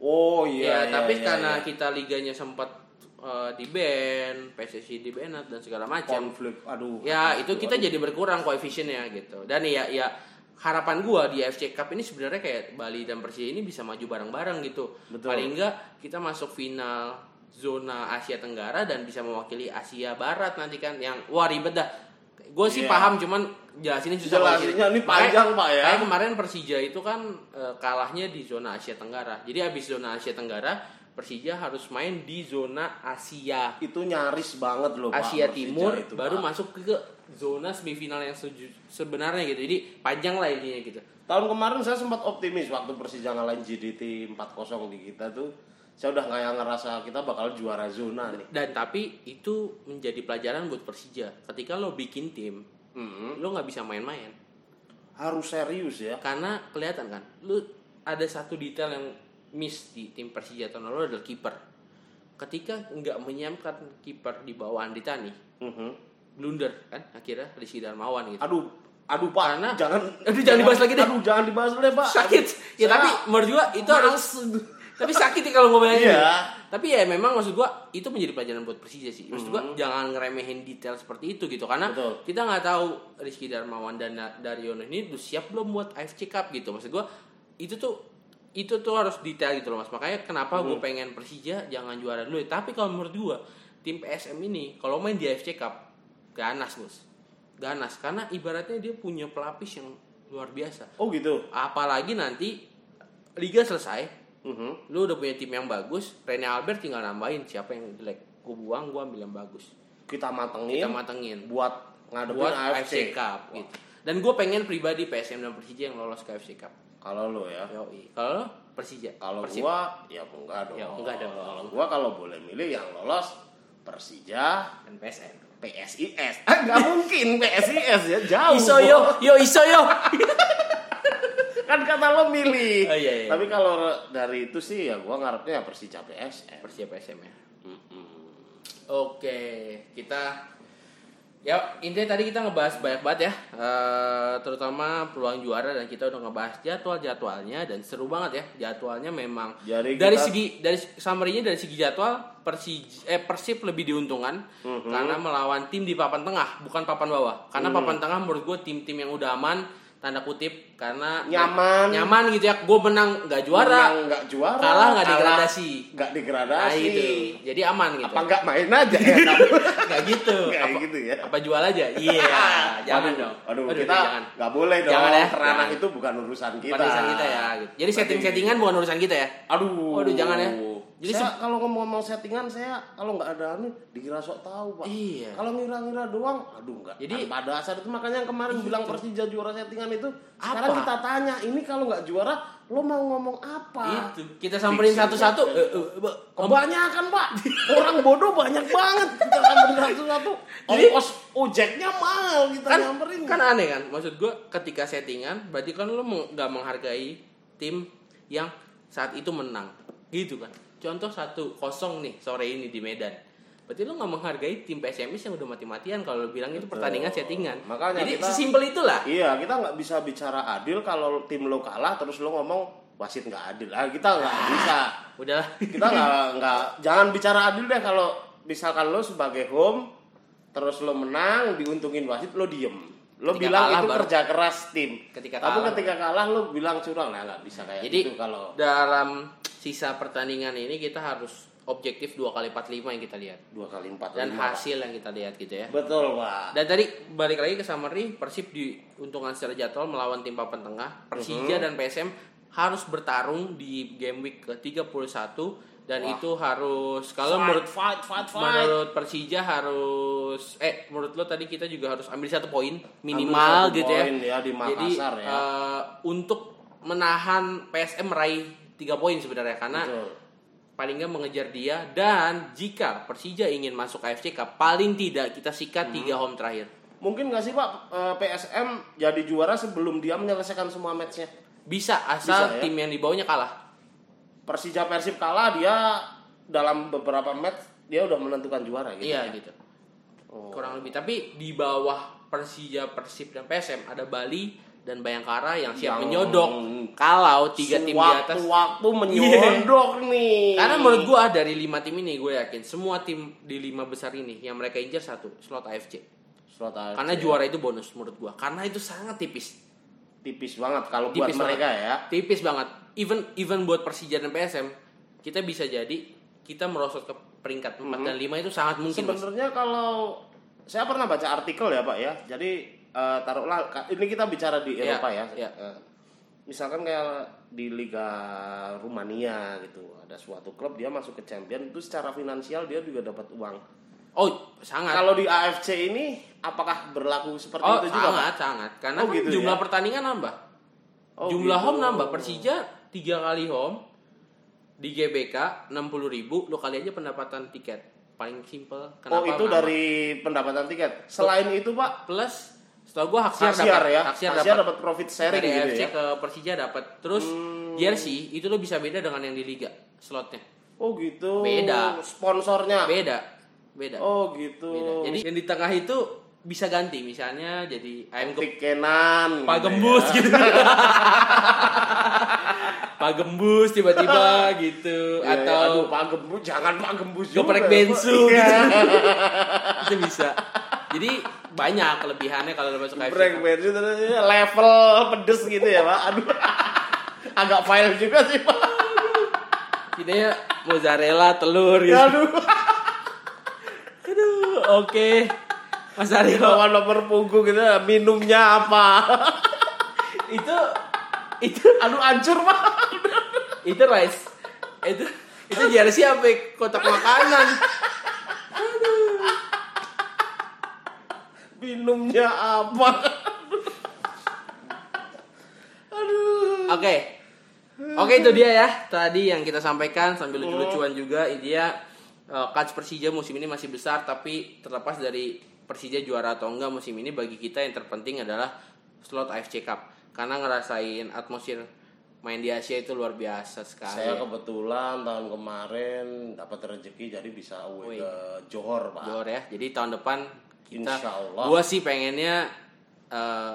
Speaker 2: Oh iya.
Speaker 1: ya, tapi
Speaker 2: iya,
Speaker 1: karena
Speaker 2: iya.
Speaker 1: kita liganya sempat eh, di ban, PSSI di ban dan segala macam.
Speaker 2: konflik, aduh.
Speaker 1: Ya, itu
Speaker 2: gitu,
Speaker 1: kita jadi berkurang koefisiennya gitu. Dan ya ya harapan gua di FC Cup ini sebenarnya kayak Bali dan Persija ini bisa maju bareng-bareng gitu.
Speaker 2: Betul.
Speaker 1: Paling enggak kita masuk final zona Asia Tenggara dan bisa mewakili Asia Barat nanti kan yang wah ribet dah. Gue sih
Speaker 2: Iya.
Speaker 1: paham cuman jelasinnya susah. kalau
Speaker 2: Jelasinnya
Speaker 1: gitu.
Speaker 2: ini panjang,
Speaker 1: Makanya-
Speaker 2: Pak, ya.
Speaker 1: makanya kemarin Persija itu kan eh, kalahnya di zona Asia Tenggara. Jadi habis zona Asia Tenggara, Persija harus main di zona Asia
Speaker 2: itu nyaris banget loh Pak,
Speaker 1: Asia
Speaker 2: Persija
Speaker 1: Timur
Speaker 2: itu,
Speaker 1: baru
Speaker 2: Pak.
Speaker 1: masuk ke zona semifinal yang seju- sebenarnya gitu. Jadi panjang lah intinya gitu.
Speaker 2: Tahun kemarin saya sempat optimis waktu Persija ngalahin JDT 4-0 di kita tuh. Saya udah kayak ngerasa kita bakal juara zona nih.
Speaker 1: Dan tapi itu menjadi pelajaran buat Persija. Ketika lo bikin tim,
Speaker 2: Mm-mm.
Speaker 1: lo nggak bisa main-main.
Speaker 2: Harus serius ya.
Speaker 1: Karena kelihatan kan, lo ada satu detail yang miss di tim Persija tahun lalu adalah kiper. Ketika nggak menyiapkan kiper di bawah Andi Tani,
Speaker 2: Mhm.
Speaker 1: blunder kan akhirnya Rizky Darmawan gitu.
Speaker 2: Aduh, aduh Pak,
Speaker 1: Karena-
Speaker 2: jangan
Speaker 1: Aduh, jangan dibahas lagi deh.
Speaker 2: Aduh, jangan dibahas lagi, Pak.
Speaker 1: sakit ya
Speaker 2: Saya-
Speaker 1: tapi menurut gua itu harus tapi sakit ya kalau ngobrolnya
Speaker 2: Iya.
Speaker 1: tapi ya memang maksud gua itu menjadi pelajaran buat Persija sih maksud gua jangan ngeremehin detail seperti itu gitu karena
Speaker 2: Betul.
Speaker 1: kita nggak tahu Rizky Darmawan dan Na- Daryono ini udah siap belum buat AFC Cup gitu maksud gua itu tuh itu tuh harus detail gitu loh mas makanya kenapa gua pengen Persija jangan juara dulu ya. tapi kalau menurut gua tim PSM ini kalau main di AFC Cup ganas bos ganas karena ibaratnya dia punya pelapis yang luar biasa
Speaker 2: Oh gitu.
Speaker 1: apalagi nanti liga selesai
Speaker 2: Mhm.
Speaker 1: lu udah punya tim yang bagus Rene Albert tinggal nambahin siapa yang jelek gue buang gue ambil yang bagus
Speaker 2: Kita matengin.
Speaker 1: kita matengin
Speaker 2: buat ngadepin
Speaker 1: buat
Speaker 2: AFC.
Speaker 1: AFC Cup gitu dan gue pengen pribadi PSM dan Persija yang lolos ke AFC Cup
Speaker 2: Kalau lo ya.
Speaker 1: Yoi. kalau lu, Persija
Speaker 2: Kalau
Speaker 1: Persib.
Speaker 2: gua ya enggak dong.
Speaker 1: Ya, enggak dong.
Speaker 2: Kalau gua kalau boleh milih yang lolos Persija,
Speaker 1: dan PSM
Speaker 2: PSIS. Ah, enggak mungkin PSIS ya, jauh.
Speaker 1: iso yo yo iso yo
Speaker 2: Kan kata lo milih.
Speaker 1: Oh, iya, iya.
Speaker 2: Tapi kalau dari itu sih ya gua ngarepnya ya Persija PSM.
Speaker 1: Persija PSM ya Oke, kita ya intinya tadi kita ngebahas banyak banget ya, Eh, terutama peluang juara dan kita udah ngebahas jadwal jadwalnya dan seru banget ya jadwalnya memang
Speaker 2: Jadi
Speaker 1: dari
Speaker 2: kita-
Speaker 1: segi dari summary-nya dari segi jadwal Persij eh Persib lebih diuntungkan karena melawan tim di papan tengah bukan papan bawah
Speaker 2: Mm.
Speaker 1: karena papan tengah menurut gue tim-tim yang udah aman tanda kutip karena
Speaker 2: Nyaman.
Speaker 1: nyaman gitu ya gue menang nggak
Speaker 2: Menang
Speaker 1: juara
Speaker 2: nggak juara,
Speaker 1: kalah nggak degradasi
Speaker 2: Enggak
Speaker 1: Nah, Iya,
Speaker 2: degradasi.
Speaker 1: gitu. jadi aman gitu
Speaker 2: Apa enggak main aja ya? Nggak
Speaker 1: Gak gitu.
Speaker 2: Kayak
Speaker 1: Apa-
Speaker 2: gitu ya.
Speaker 1: Apa jual aja? Iya, jangan
Speaker 2: Aduh,
Speaker 1: dong.
Speaker 2: Aduh, kita
Speaker 1: jangan.
Speaker 2: nggak boleh dong.
Speaker 1: Jangan ya,
Speaker 2: Ranah
Speaker 1: jangan.
Speaker 2: itu bukan urusan kita.
Speaker 1: Bukan urusan kita ya. gitu. Jadi setting-settingan bukan urusan kita ya.
Speaker 2: Aduh.
Speaker 1: Waduh, jangan ya. Jadi
Speaker 2: Jadi saya, kalau ngomong-ngomong settingan saya kalau nggak ada anu dikira sok tahu pak.
Speaker 1: Iya.
Speaker 2: Kalau ngira-ngira doang, aduh nggak.
Speaker 1: Jadi- Iya.
Speaker 2: Jadi pada dasar itu makanya yang kemarin bilang Persija juara settingan itu. Sekarang
Speaker 1: Apa?
Speaker 2: kita tanya ini kalau nggak juara lo mau ngomong apa?
Speaker 1: Itu Gitu. kita samperin
Speaker 2: Fixing
Speaker 1: satu-satu. Eh,
Speaker 2: setting.
Speaker 1: eh, eh, om-
Speaker 2: Kebanyakan pak, orang bodoh banyak banget. Kita samperin satu-satu.
Speaker 1: Jadi-
Speaker 2: Ongkos ojeknya mahal kita
Speaker 1: kan,
Speaker 2: nyamperin.
Speaker 1: kan aneh kan? Maksud gue ketika settingan berarti kan lo mau- nggak menghargai tim yang saat itu menang. Gitu kan. Contoh satu kosong nih sore ini di Medan. Berarti lo nggak menghargai tim PSMS yang udah mati-matian kalau lo bilang itu pertandingan settingan.
Speaker 2: Makanya
Speaker 1: Jadi
Speaker 2: kita-
Speaker 1: sesimpel itulah.
Speaker 2: Iya, kita nggak bisa bicara adil kalau tim lo kalah terus lo ngomong wasit nggak adil. Ah, kita nggak bisa.
Speaker 1: Udahlah.
Speaker 2: Kita nggak nggak jangan bicara adil deh kalau misalkan lo sebagai home terus lo menang diuntungin wasit lo diem. Lo
Speaker 1: Ketika
Speaker 2: bilang
Speaker 1: kalah
Speaker 2: itu
Speaker 1: baru-
Speaker 2: kerja keras tim.
Speaker 1: Ketika
Speaker 2: Tapi
Speaker 1: kalah.
Speaker 2: ketika kalah lo bilang curang nah nggak bisa kayak
Speaker 1: Jadi
Speaker 2: gitu kalau
Speaker 1: dalam sisa pertandingan ini kita harus objektif dua kali 45 yang kita lihat
Speaker 2: dua kali empat
Speaker 1: dan
Speaker 2: lima.
Speaker 1: hasil yang kita lihat gitu ya.
Speaker 2: Betul pak.
Speaker 1: Dan tadi balik lagi ke summary Persib diuntungkan secara jadwal melawan tim papan tengah. Persija
Speaker 2: Mhm.
Speaker 1: dan PSM harus bertarung di game week ke-31 dan itu harus kalau menurut
Speaker 2: fight fight fight.
Speaker 1: menurut Persija harus eh menurut lo tadi kita juga harus ambil satu poin minimal
Speaker 2: Ambil satu
Speaker 1: gitu
Speaker 2: poin
Speaker 1: ya.
Speaker 2: ya di Makassar
Speaker 1: Jadi
Speaker 2: ya.
Speaker 1: eh, untuk menahan PSM meraih tiga poin sebenarnya karena
Speaker 2: Betul.
Speaker 1: paling nggak mengejar dia dan jika Persija ingin masuk AFC Cup paling tidak kita
Speaker 2: Hmm.
Speaker 1: sikat tiga home terakhir.
Speaker 2: Mungkin nggak sih pak eh, PSM jadi juara sebelum dia menyelesaikan semua matchnya?
Speaker 1: Bisa asal
Speaker 2: Bisa, ya.
Speaker 1: tim yang dibawanya kalah.
Speaker 2: Persija Persib kalah dia dalam beberapa match dia udah menentukan juara gitu.
Speaker 1: Iya gitu.
Speaker 2: Oh.
Speaker 1: Kurang lebih. Tapi di bawah Persija, Persib dan PSM ada Bali dan Bayangkara yang siap
Speaker 2: Yang
Speaker 1: menyodok kalau tiga tim di atas. Iya.
Speaker 2: Waktu menyodok nih.
Speaker 1: Karena menurut gua ah, dari lima tim ini gue yakin semua tim di lima besar ini yang mereka incer satu slot AFC.
Speaker 2: Slot AFC.
Speaker 1: Karena juara itu bonus menurut gua. Karena itu sangat tipis.
Speaker 2: tipis banget kalau buat
Speaker 1: Tipis banget.
Speaker 2: mereka ya.
Speaker 1: Tipis banget. Even even buat Persija dan PSM kita bisa jadi kita merosot ke peringkat 4
Speaker 2: Mm-hmm.
Speaker 1: dan 5 itu sangat mungkin. Mas.
Speaker 2: Sebenarnya kalau saya pernah baca artikel ya Pak ya. Jadi eh, taruhlah ka- ini kita bicara di
Speaker 1: Iya,
Speaker 2: Eropa ya.
Speaker 1: iya.
Speaker 2: Eh, Misalkan kayak di Liga Rumania gitu, ada suatu klub dia masuk ke champion itu secara finansial dia juga dapat uang.
Speaker 1: Oh, sangat.
Speaker 2: Kalau di AFC ini apakah berlaku seperti
Speaker 1: Oh,
Speaker 2: itu juga? Pak?
Speaker 1: sangat, sangat. Karena
Speaker 2: Oh,
Speaker 1: kan
Speaker 2: gitu
Speaker 1: jumlah
Speaker 2: ya?
Speaker 1: pertandingan nambah.
Speaker 2: Oh,
Speaker 1: jumlah
Speaker 2: gitu.
Speaker 1: home nambah. Persija tiga kali home di GBK 60.000 ribu, lo kali aja pendapatan tiket paling simple. Kenapa
Speaker 2: Oh, itu
Speaker 1: nambah?
Speaker 2: dari pendapatan tiket. Selain itu, Pak,
Speaker 1: plus setahu gua Haksiar
Speaker 2: Haksiar
Speaker 1: dapat
Speaker 2: ya.
Speaker 1: Haksiar
Speaker 2: Haksiar
Speaker 1: dapat
Speaker 2: dapat profit sharing
Speaker 1: dari
Speaker 2: gitu
Speaker 1: AFC
Speaker 2: ya. Hmm.
Speaker 1: ke Persija dapat. Terus jersey itu lo bisa beda dengan yang di liga slotnya.
Speaker 2: Oh, gitu.
Speaker 1: Beda.
Speaker 2: Sponsornya.
Speaker 1: Beda. Beda.
Speaker 2: Oh, gitu.
Speaker 1: Beda. Jadi yang di tengah itu bisa ganti misalnya jadi ayam ke
Speaker 2: tikenan
Speaker 1: Pak Gembus gitu. Pak Gembus tiba-tiba gitu
Speaker 2: Iya,
Speaker 1: atau
Speaker 2: aduh Pak Gembus jangan Pak Gembus juga.
Speaker 1: geprek bensu
Speaker 2: Iya,
Speaker 1: gitu. Itu bisa. Jadi banyak kelebihannya kalau lo masuk
Speaker 2: Geprek
Speaker 1: AFC.
Speaker 2: bensu terus ini level pedes gitu ya Pak. Aduh. Agak file juga sih Pak.
Speaker 1: Intinya mozzarella, telur gitu.
Speaker 2: Aduh.
Speaker 1: Aduh, oke. Mas Aryo,
Speaker 2: Lawan nomor punggung gitu minumnya apa?
Speaker 1: itu itu anu
Speaker 2: Aduh hancur Pak.
Speaker 1: itu rice. Itu itu jersey apa kotak makanan?
Speaker 2: Minumnya apa? Aduh.
Speaker 1: Oke. Oke itu dia ya tadi yang kita sampaikan sambil lucu-lucuan juga dia kans Persija musim ini masih besar tapi terlepas dari Persija juara atau enggak musim ini bagi kita yang terpenting adalah slot AFC Cup karena ngerasain atmosfer main di Asia itu luar biasa sekali.
Speaker 2: Saya kebetulan tahun kemarin dapat rezeki jadi bisa
Speaker 1: Wih.
Speaker 2: away ke Johor, Pak.
Speaker 1: Johor ya. Jadi tahun depan kita
Speaker 2: Insya Allah.
Speaker 1: gua sih pengennya eh,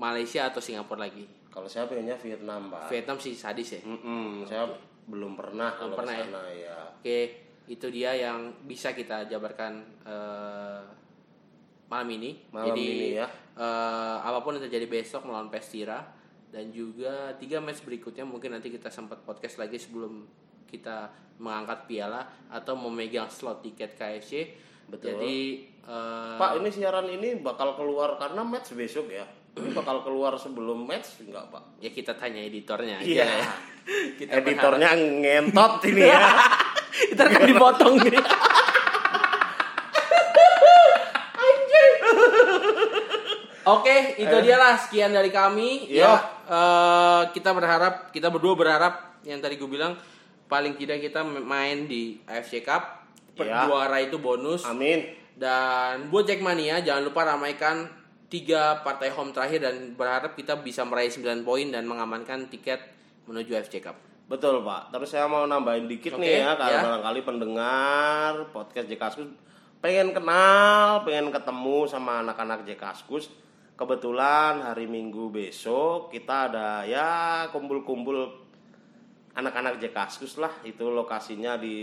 Speaker 1: Malaysia atau Singapura lagi.
Speaker 2: Kalau saya pengennya Vietnam, Pak.
Speaker 1: Vietnam sih sadis ya.
Speaker 2: Mm-mm, saya belum pernah
Speaker 1: Belum
Speaker 2: kalau
Speaker 1: pernah
Speaker 2: pernah
Speaker 1: ya?
Speaker 2: sana ya.
Speaker 1: Oke, itu dia yang bisa kita jabarkan eh, malam ini.
Speaker 2: Malam
Speaker 1: Jadi,
Speaker 2: ini ya.
Speaker 1: eh, apapun yang terjadi besok melawan Pestira dan juga tiga match berikutnya mungkin nanti kita sempat podcast lagi sebelum kita mengangkat piala atau memegang slot tiket KFC.
Speaker 2: Betul.
Speaker 1: Jadi eh,
Speaker 2: Pak, ini siaran ini bakal keluar karena match besok ya. Ini bakal keluar sebelum match enggak, Pak?
Speaker 1: ya kita tanya editornya aja
Speaker 2: Iya.
Speaker 1: ya. Kita berharap-
Speaker 2: Editornya ngentot ini ya.
Speaker 1: Ntar kan dipotong nih. Oke, itu dia lah sekian dari kami.
Speaker 2: Yo.
Speaker 1: Ya, eh, kita berharap, kita berdua berharap yang tadi gue bilang paling tidak kita main di AFC Cup. Per-
Speaker 2: Iya.
Speaker 1: Juara itu bonus.
Speaker 2: Amin.
Speaker 1: Dan buat Jackmania jangan lupa ramaikan tiga partai home terakhir dan berharap kita bisa meraih 9 poin dan mengamankan tiket menuju AFC Cup.
Speaker 2: Betul, Pak. Terus saya mau nambahin dikit
Speaker 1: Oke,
Speaker 2: nih ya, karena
Speaker 1: ya.
Speaker 2: barangkali pendengar podcast Jekaskus pengen kenal, pengen ketemu sama anak-anak Jekaskus. Kebetulan hari Minggu besok kita ada ya kumpul-kumpul anak-anak Jekaskus lah. Itu lokasinya di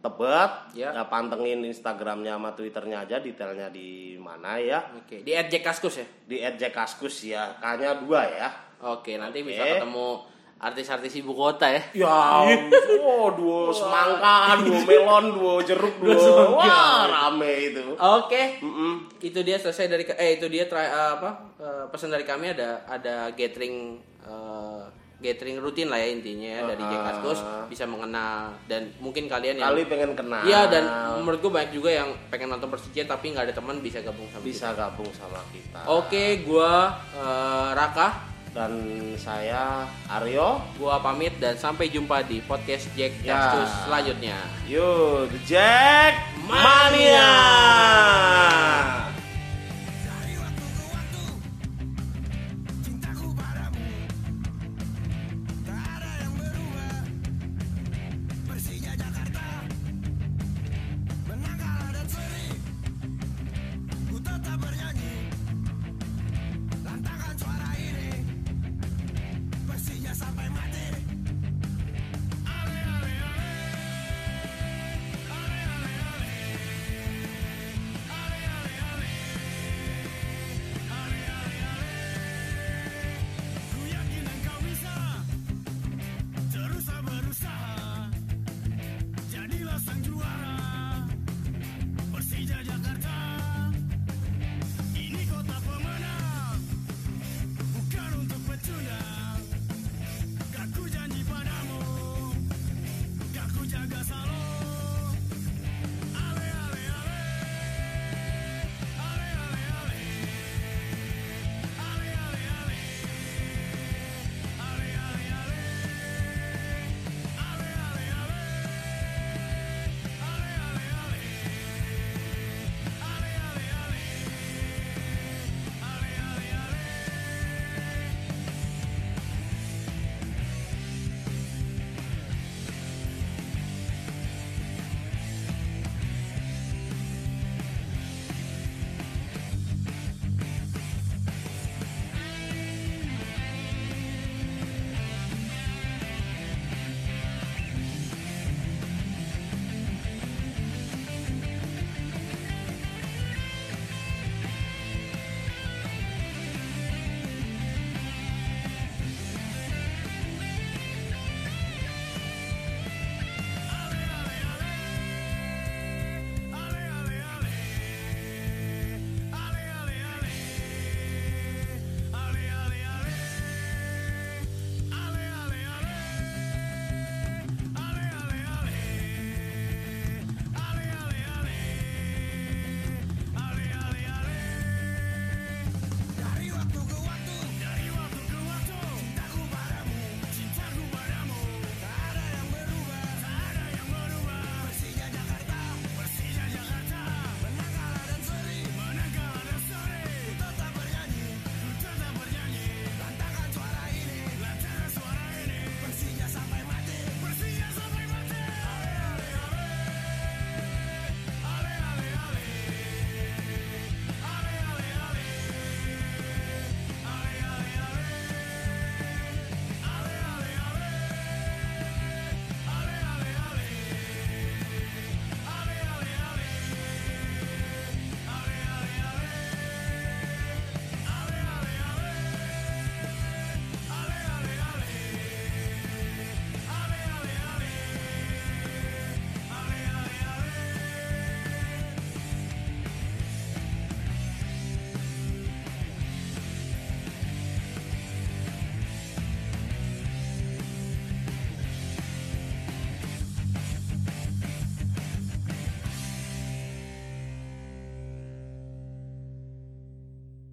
Speaker 2: Tebet.
Speaker 1: Ya.
Speaker 2: Nah, pantengin Instagramnya sama Twitternya aja, detailnya di mana ya.
Speaker 1: Oke, di at Jack Kaskus ya.
Speaker 2: Di @jekaskus ya, kayaknya dua ya.
Speaker 1: Oke, nanti bisa
Speaker 2: Oke.
Speaker 1: ketemu artis-artis ibu kota ya.
Speaker 2: Ya, oh, duo semangka, duo melon, duo jeruk, duo wah rame itu.
Speaker 1: Oke.
Speaker 2: Mm-mm.
Speaker 1: Itu dia selesai dari eh itu dia try- eh, apa? eh, pesan dari kami ada ada gathering eh, gathering rutin lah ya intinya ya, dari Jack Kaskus bisa mengenal dan mungkin kalian yang
Speaker 2: Ah. Kali pengen kenal.
Speaker 1: Iya dan menurut gue banyak juga yang pengen nonton Persija tapi nggak ada teman bisa gabung sama kita.
Speaker 2: bisa gabung sama kita.
Speaker 1: Oke, gua eh, Raka,
Speaker 2: Dan saya Aryo.
Speaker 1: gua pamit dan sampai jumpa di podcast Jack
Speaker 2: Ya.
Speaker 1: Kaskus selanjutnya.
Speaker 2: Yo, The Jack Mania.